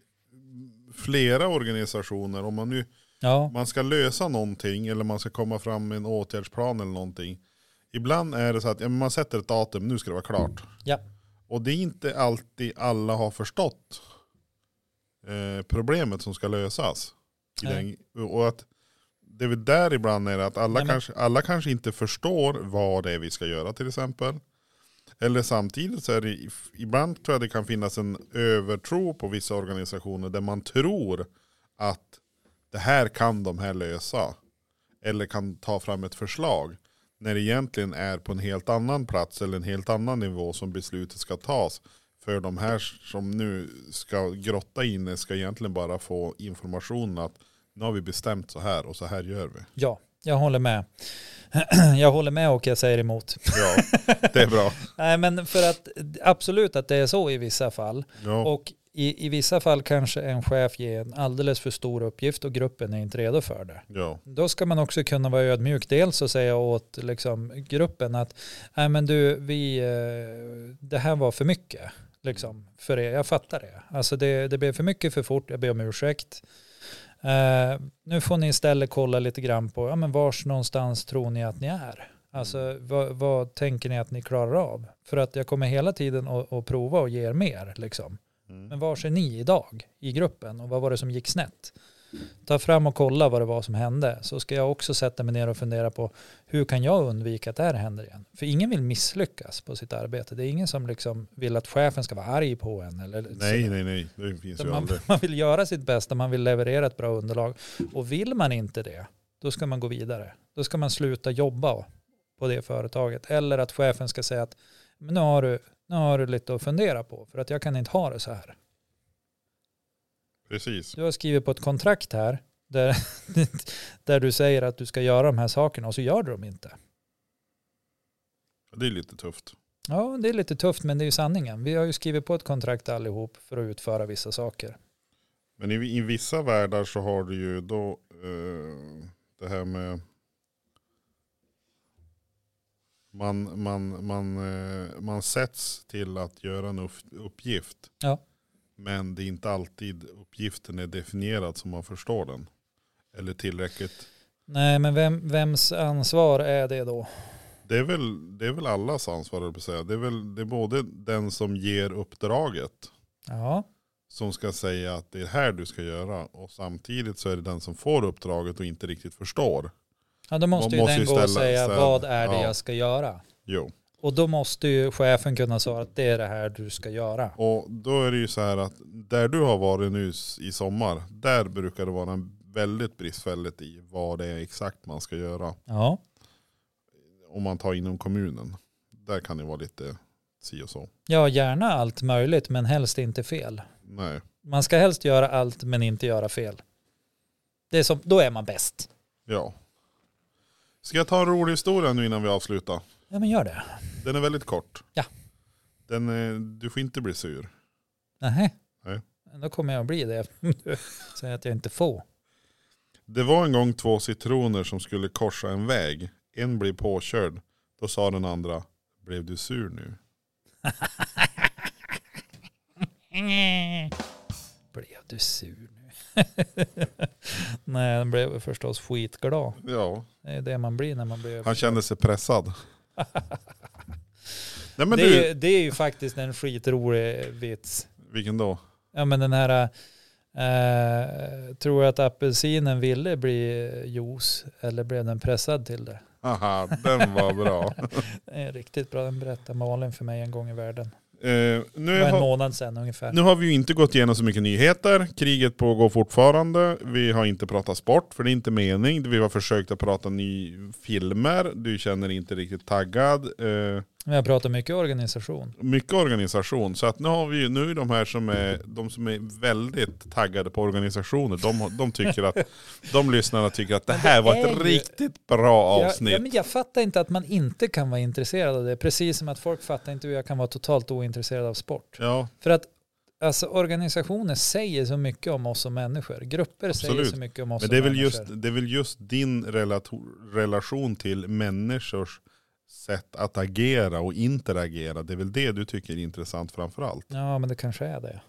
Speaker 1: flera organisationer, om man nu
Speaker 2: Ja,
Speaker 1: man ska lösa någonting eller man ska komma fram med en åtgärdsplan eller någonting. Ibland är det så att ja, men man sätter ett datum, nu ska det vara klart.
Speaker 2: Ja.
Speaker 1: Och det är inte alltid alla har förstått eh, problemet som ska lösas. I
Speaker 2: Nej.
Speaker 1: den, och att det är väl där ibland är det att alla,
Speaker 2: Nej, men-
Speaker 1: kanske, alla kanske inte förstår vad det är vi ska göra till exempel. Eller samtidigt så är det, ibland tror jag det kan finnas en övertro på vissa organisationer där man tror att det här kan de här lösa. Eller kan ta fram ett förslag. När det egentligen är på en helt annan plats eller en helt annan nivå som beslutet ska tas. För de här som nu ska grotta inne ska egentligen bara få information att nu har vi bestämt så här och så här gör vi.
Speaker 2: Ja, jag håller med. Jag håller med och jag säger emot.
Speaker 1: Ja, det är bra.
Speaker 2: Nej, men för att absolut att det är så i vissa fall.
Speaker 1: Ja,
Speaker 2: Och i, i vissa fall kanske en chef ger en alldeles för stor uppgift och gruppen är inte redo för det.
Speaker 1: ja,
Speaker 2: Då ska man också kunna vara ödmjuk. Dels att säga åt liksom, gruppen att Nej, men du, vi, eh, det här var för mycket liksom, för er. Jag fattar det. Alltså det, det blev för mycket för fort. Jag ber om ursäkt. Eh, nu får ni istället kolla lite grann på ja, men vars någonstans tror ni att ni är. Alltså vad, vad tänker ni att ni klarar av? För att jag kommer hela tiden att att prova och ge er mer. Liksom. Men
Speaker 1: mm.
Speaker 2: var är ni idag i gruppen och vad var det som gick snett? Ta fram och kolla vad det var som hände så ska jag också sätta mig ner och fundera på hur kan jag undvika att det här händer igen? För ingen vill misslyckas på sitt arbete. Det är ingen som liksom vill att chefen ska vara arg på en. Eller
Speaker 1: Nej, nej, nej. Det finns
Speaker 2: Utan
Speaker 1: ju
Speaker 2: man,
Speaker 1: aldrig.
Speaker 2: man vill göra sitt bästa, man vill leverera ett bra underlag. Och vill man inte det, då ska man gå vidare. Då ska man sluta jobba på det företaget. Eller att chefen ska säga att men nu, har du, nu har du lite att fundera på för att jag kan inte ha det så här.
Speaker 1: Precis.
Speaker 2: Du har skrivit på ett kontrakt här där, där du säger att du ska göra de här sakerna och så gör du dem inte.
Speaker 1: Det är lite tufft.
Speaker 2: Ja, det är lite tufft men det är ju sanningen. Vi har ju skrivit på ett kontrakt allihop för att utföra vissa saker.
Speaker 1: Men i, i vissa världar så har du ju då eh, det här med man, man, man, eh, man sätts till att göra en upp- uppgift.
Speaker 2: Ja.
Speaker 1: Men det är inte alltid uppgiften är definierad som man förstår den. Eller tillräckligt.
Speaker 2: Nej, men vem, vems ansvar är det då?
Speaker 1: Det är väl, det är väl allas ansvar, höll jag på att säga. Det är väl det är både den som ger uppdraget
Speaker 2: Ja,
Speaker 1: som ska säga att det är det här du ska göra. Och samtidigt så är det den som får uppdraget och inte riktigt förstår.
Speaker 2: ja då
Speaker 1: Man
Speaker 2: måste ju
Speaker 1: måste
Speaker 2: den
Speaker 1: ju
Speaker 2: gå och
Speaker 1: ställa-
Speaker 2: säga
Speaker 1: ställa-
Speaker 2: vad är det
Speaker 1: ja.
Speaker 2: jag ska göra?
Speaker 1: Jo.
Speaker 2: Och då måste ju chefen kunna svara att det är det här du ska göra.
Speaker 1: Och då är det ju så här att där du har varit nu s- i sommar, där brukar det vara en väldigt bristfälligt i vad det är exakt man ska göra.
Speaker 2: Ja,
Speaker 1: Om man tar inom kommunen. Där kan det vara lite si och så.
Speaker 2: ja gärna allt möjligt men helst inte fel.
Speaker 1: Nej.
Speaker 2: Man ska helst göra allt men inte göra fel. Det är som, då är man bäst.
Speaker 1: Ja. Ska jag ta en rolig historia nu innan vi avslutar?
Speaker 2: Ja men gör det.
Speaker 1: Den är väldigt kort.
Speaker 2: Ja.
Speaker 1: Den är, du får inte bli sur.
Speaker 2: Nej.
Speaker 1: Nej.
Speaker 2: Då kommer jag att bli det eftersom du säger att jag inte får.
Speaker 1: Det var en gång två citroner som skulle korsa en väg. En blev påkörd. Då sa den andra, blev du sur nu?
Speaker 2: Blev du sur nu? Nej, den blev förstås skitglad.
Speaker 1: Ja,
Speaker 2: Det är det man blir när man blir
Speaker 1: han kände sig pressad. Nej men
Speaker 2: det, är,
Speaker 1: du,
Speaker 2: ju- det är ju faktiskt en skitrolig vits.
Speaker 1: vilken då?
Speaker 2: Ja men den här, eh, tror jag att apelsinen ville bli juice eller blev den pressad till det?
Speaker 1: Haha, den var bra.
Speaker 2: Det är riktigt bra, den berättade Malin för mig en gång i världen.
Speaker 1: Eh, nu,
Speaker 2: Det var en
Speaker 1: har,
Speaker 2: månad sedan ungefär.
Speaker 1: nu har vi ju inte gått igenom så mycket nyheter. Kriget pågår fortfarande. Vi har inte pratat sport, för det är inte mening. Vi har försökt att prata ny filmer. Du känner dig inte riktigt taggad. Eh,
Speaker 2: Vi har pratat mycket organisation.
Speaker 1: mycket organisation. Så att nu har vi ju, nu är de här som är, de som är väldigt taggade på organisationer, de, har- de tycker att, de lyssnarna tycker att det
Speaker 2: Men det
Speaker 1: här var
Speaker 2: är
Speaker 1: ett
Speaker 2: ju-
Speaker 1: riktigt bra
Speaker 2: Jag, ja,
Speaker 1: avsnitt.
Speaker 2: men jag fattar inte att man inte kan vara intresserad av det. Precis som att folk fattar inte hur jag kan vara totalt ointresserad av sport.
Speaker 1: Ja,
Speaker 2: För att alltså, organisationer säger så mycket om oss som människor. Grupper säger
Speaker 1: Absolut.
Speaker 2: så mycket om oss
Speaker 1: men
Speaker 2: som
Speaker 1: det är väl
Speaker 2: människor.
Speaker 1: just, det är väl just din relato- relation till människors sätt att agera och interagera. Det är väl det du tycker är intressant framför allt.
Speaker 2: Ja, men det kanske är det.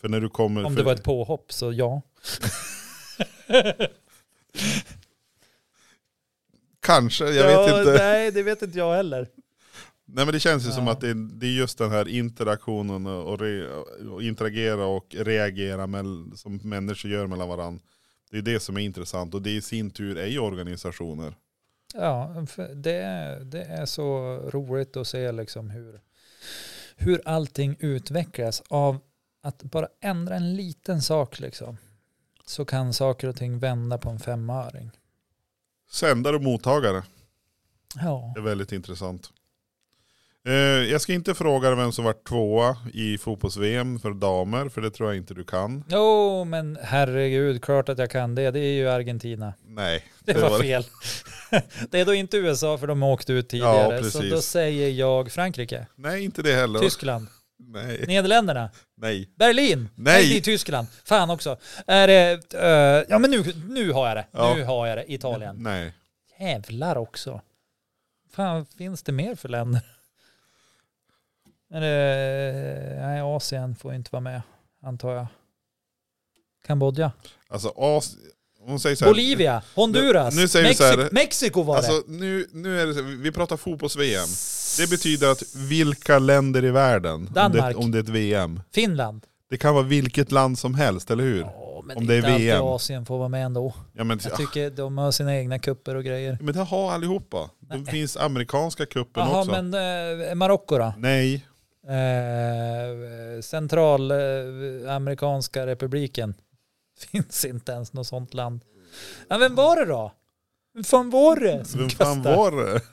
Speaker 1: För när du kommer...
Speaker 2: Om
Speaker 1: för,
Speaker 2: det var ett påhopp så ja.
Speaker 1: Kanske, jag vet inte.
Speaker 2: Nej, det vet inte jag heller.
Speaker 1: Nej men det känns ju som
Speaker 2: Ja.
Speaker 1: att det är, det är just den här interaktionen och, och, re, och interagera och reagera mell- som människor gör mellan varandra. Det är det som är intressant och det i sin tur är ju organisationer.
Speaker 2: Ja, för det, är- det är så roligt att se liksom hur, hur allting utvecklas av att bara ändra en liten sak liksom. Så kan saker och ting vända på en femöring.
Speaker 1: Sändare och mottagare.
Speaker 2: Ja.
Speaker 1: Det är väldigt intressant. Eh, jag ska inte fråga dig vem som var tvåa i fotbolls-VM för damer, för det tror jag inte du kan.
Speaker 2: Jo, men herregud, klart att jag kan det. Det är ju Argentina.
Speaker 1: Nej.
Speaker 2: Det
Speaker 1: Det var
Speaker 2: var
Speaker 1: det.
Speaker 2: fel. Det är då inte USA för de åkte ut tidigare. så
Speaker 1: precis.
Speaker 2: då säger jag Frankrike,
Speaker 1: Nej, inte det heller.
Speaker 2: Tyskland,
Speaker 1: Nej.
Speaker 2: Nederländerna,
Speaker 1: Nej.
Speaker 2: Berlin.
Speaker 1: Nej.
Speaker 2: det är Tyskland. Fan också. Är det, eh, ja men nu, nu har jag det.
Speaker 1: Ja.
Speaker 2: Nu har jag det. Italien.
Speaker 1: Nej.
Speaker 2: Jävlar också. Fan, finns det mer för länder? Är det, nej, Asien får inte vara med, antar jag. Kambodja.
Speaker 1: Alltså As... Hon säger så här.
Speaker 2: Bolivia, Honduras,
Speaker 1: Nu- nu säger vi så här-
Speaker 2: Mexi- Mexiko var det.
Speaker 1: Alltså nu, nu är det så, vi pratar fotbolls-VM. Det betyder att vilka länder i världen, om det,
Speaker 2: Danmark.
Speaker 1: om det är ett VM.
Speaker 2: Finland.
Speaker 1: Det kan vara vilket land som helst, eller hur?
Speaker 2: Ja, men
Speaker 1: Om
Speaker 2: det är inte
Speaker 1: det är
Speaker 2: alltid
Speaker 1: VM.
Speaker 2: Asien får vara med ändå.
Speaker 1: Ja, men,
Speaker 2: Jag tycker de har sina egna kupper och grejer.
Speaker 1: men det har allihopa. Det finns amerikanska cupen
Speaker 2: Jaha,
Speaker 1: också.
Speaker 2: men eh, Marocko då?
Speaker 1: Nej,
Speaker 2: Eh, Centralamerikanska republiken. Finns inte ens något sånt land. Ja, vem var det då? Vem fan var det som
Speaker 1: vem fan
Speaker 2: kastade?
Speaker 1: var det?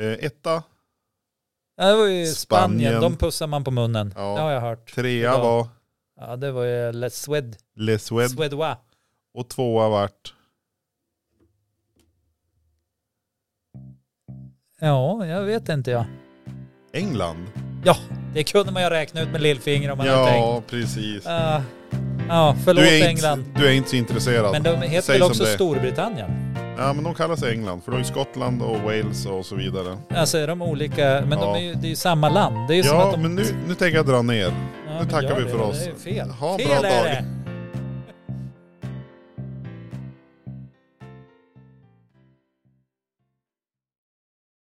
Speaker 1: Eh, Etta,
Speaker 2: Ja, det var ju Spanien.
Speaker 1: Spanien.
Speaker 2: De pussar man på munnen.
Speaker 1: Ja.
Speaker 2: Det har jag hört.
Speaker 1: trea
Speaker 2: Ja.
Speaker 1: var
Speaker 2: Ja, det var ju Le Swed.
Speaker 1: Le Sued
Speaker 2: Swedois.
Speaker 1: och tvåa vart...
Speaker 2: Ja, jag vet inte jag.
Speaker 1: England.
Speaker 2: Ja, det kunde man ju räkna ut med lillfingret om man hade tänkt.
Speaker 1: Ja, precis.
Speaker 2: Ja, ja, förlåt
Speaker 1: Du är, inte,
Speaker 2: England.
Speaker 1: du är inte så intresserad.
Speaker 2: Men de heter
Speaker 1: Säg
Speaker 2: väl
Speaker 1: som
Speaker 2: också
Speaker 1: det är.
Speaker 2: Storbritannien?
Speaker 1: Ja, men de kallas England, för de är Skottland och Wales och så vidare.
Speaker 2: Alltså är de olika, men
Speaker 1: Ja.
Speaker 2: de är ju, det är ju samma land. Det är ju som
Speaker 1: Ja,
Speaker 2: att de,
Speaker 1: men nu, nu tänker jag dra ner.
Speaker 2: Ja,
Speaker 1: nu
Speaker 2: men
Speaker 1: tackar
Speaker 2: gör
Speaker 1: vi
Speaker 2: det.
Speaker 1: för oss.
Speaker 2: Det är fel.
Speaker 1: Ha en
Speaker 2: fel
Speaker 1: bra
Speaker 2: är
Speaker 1: dag.
Speaker 2: det.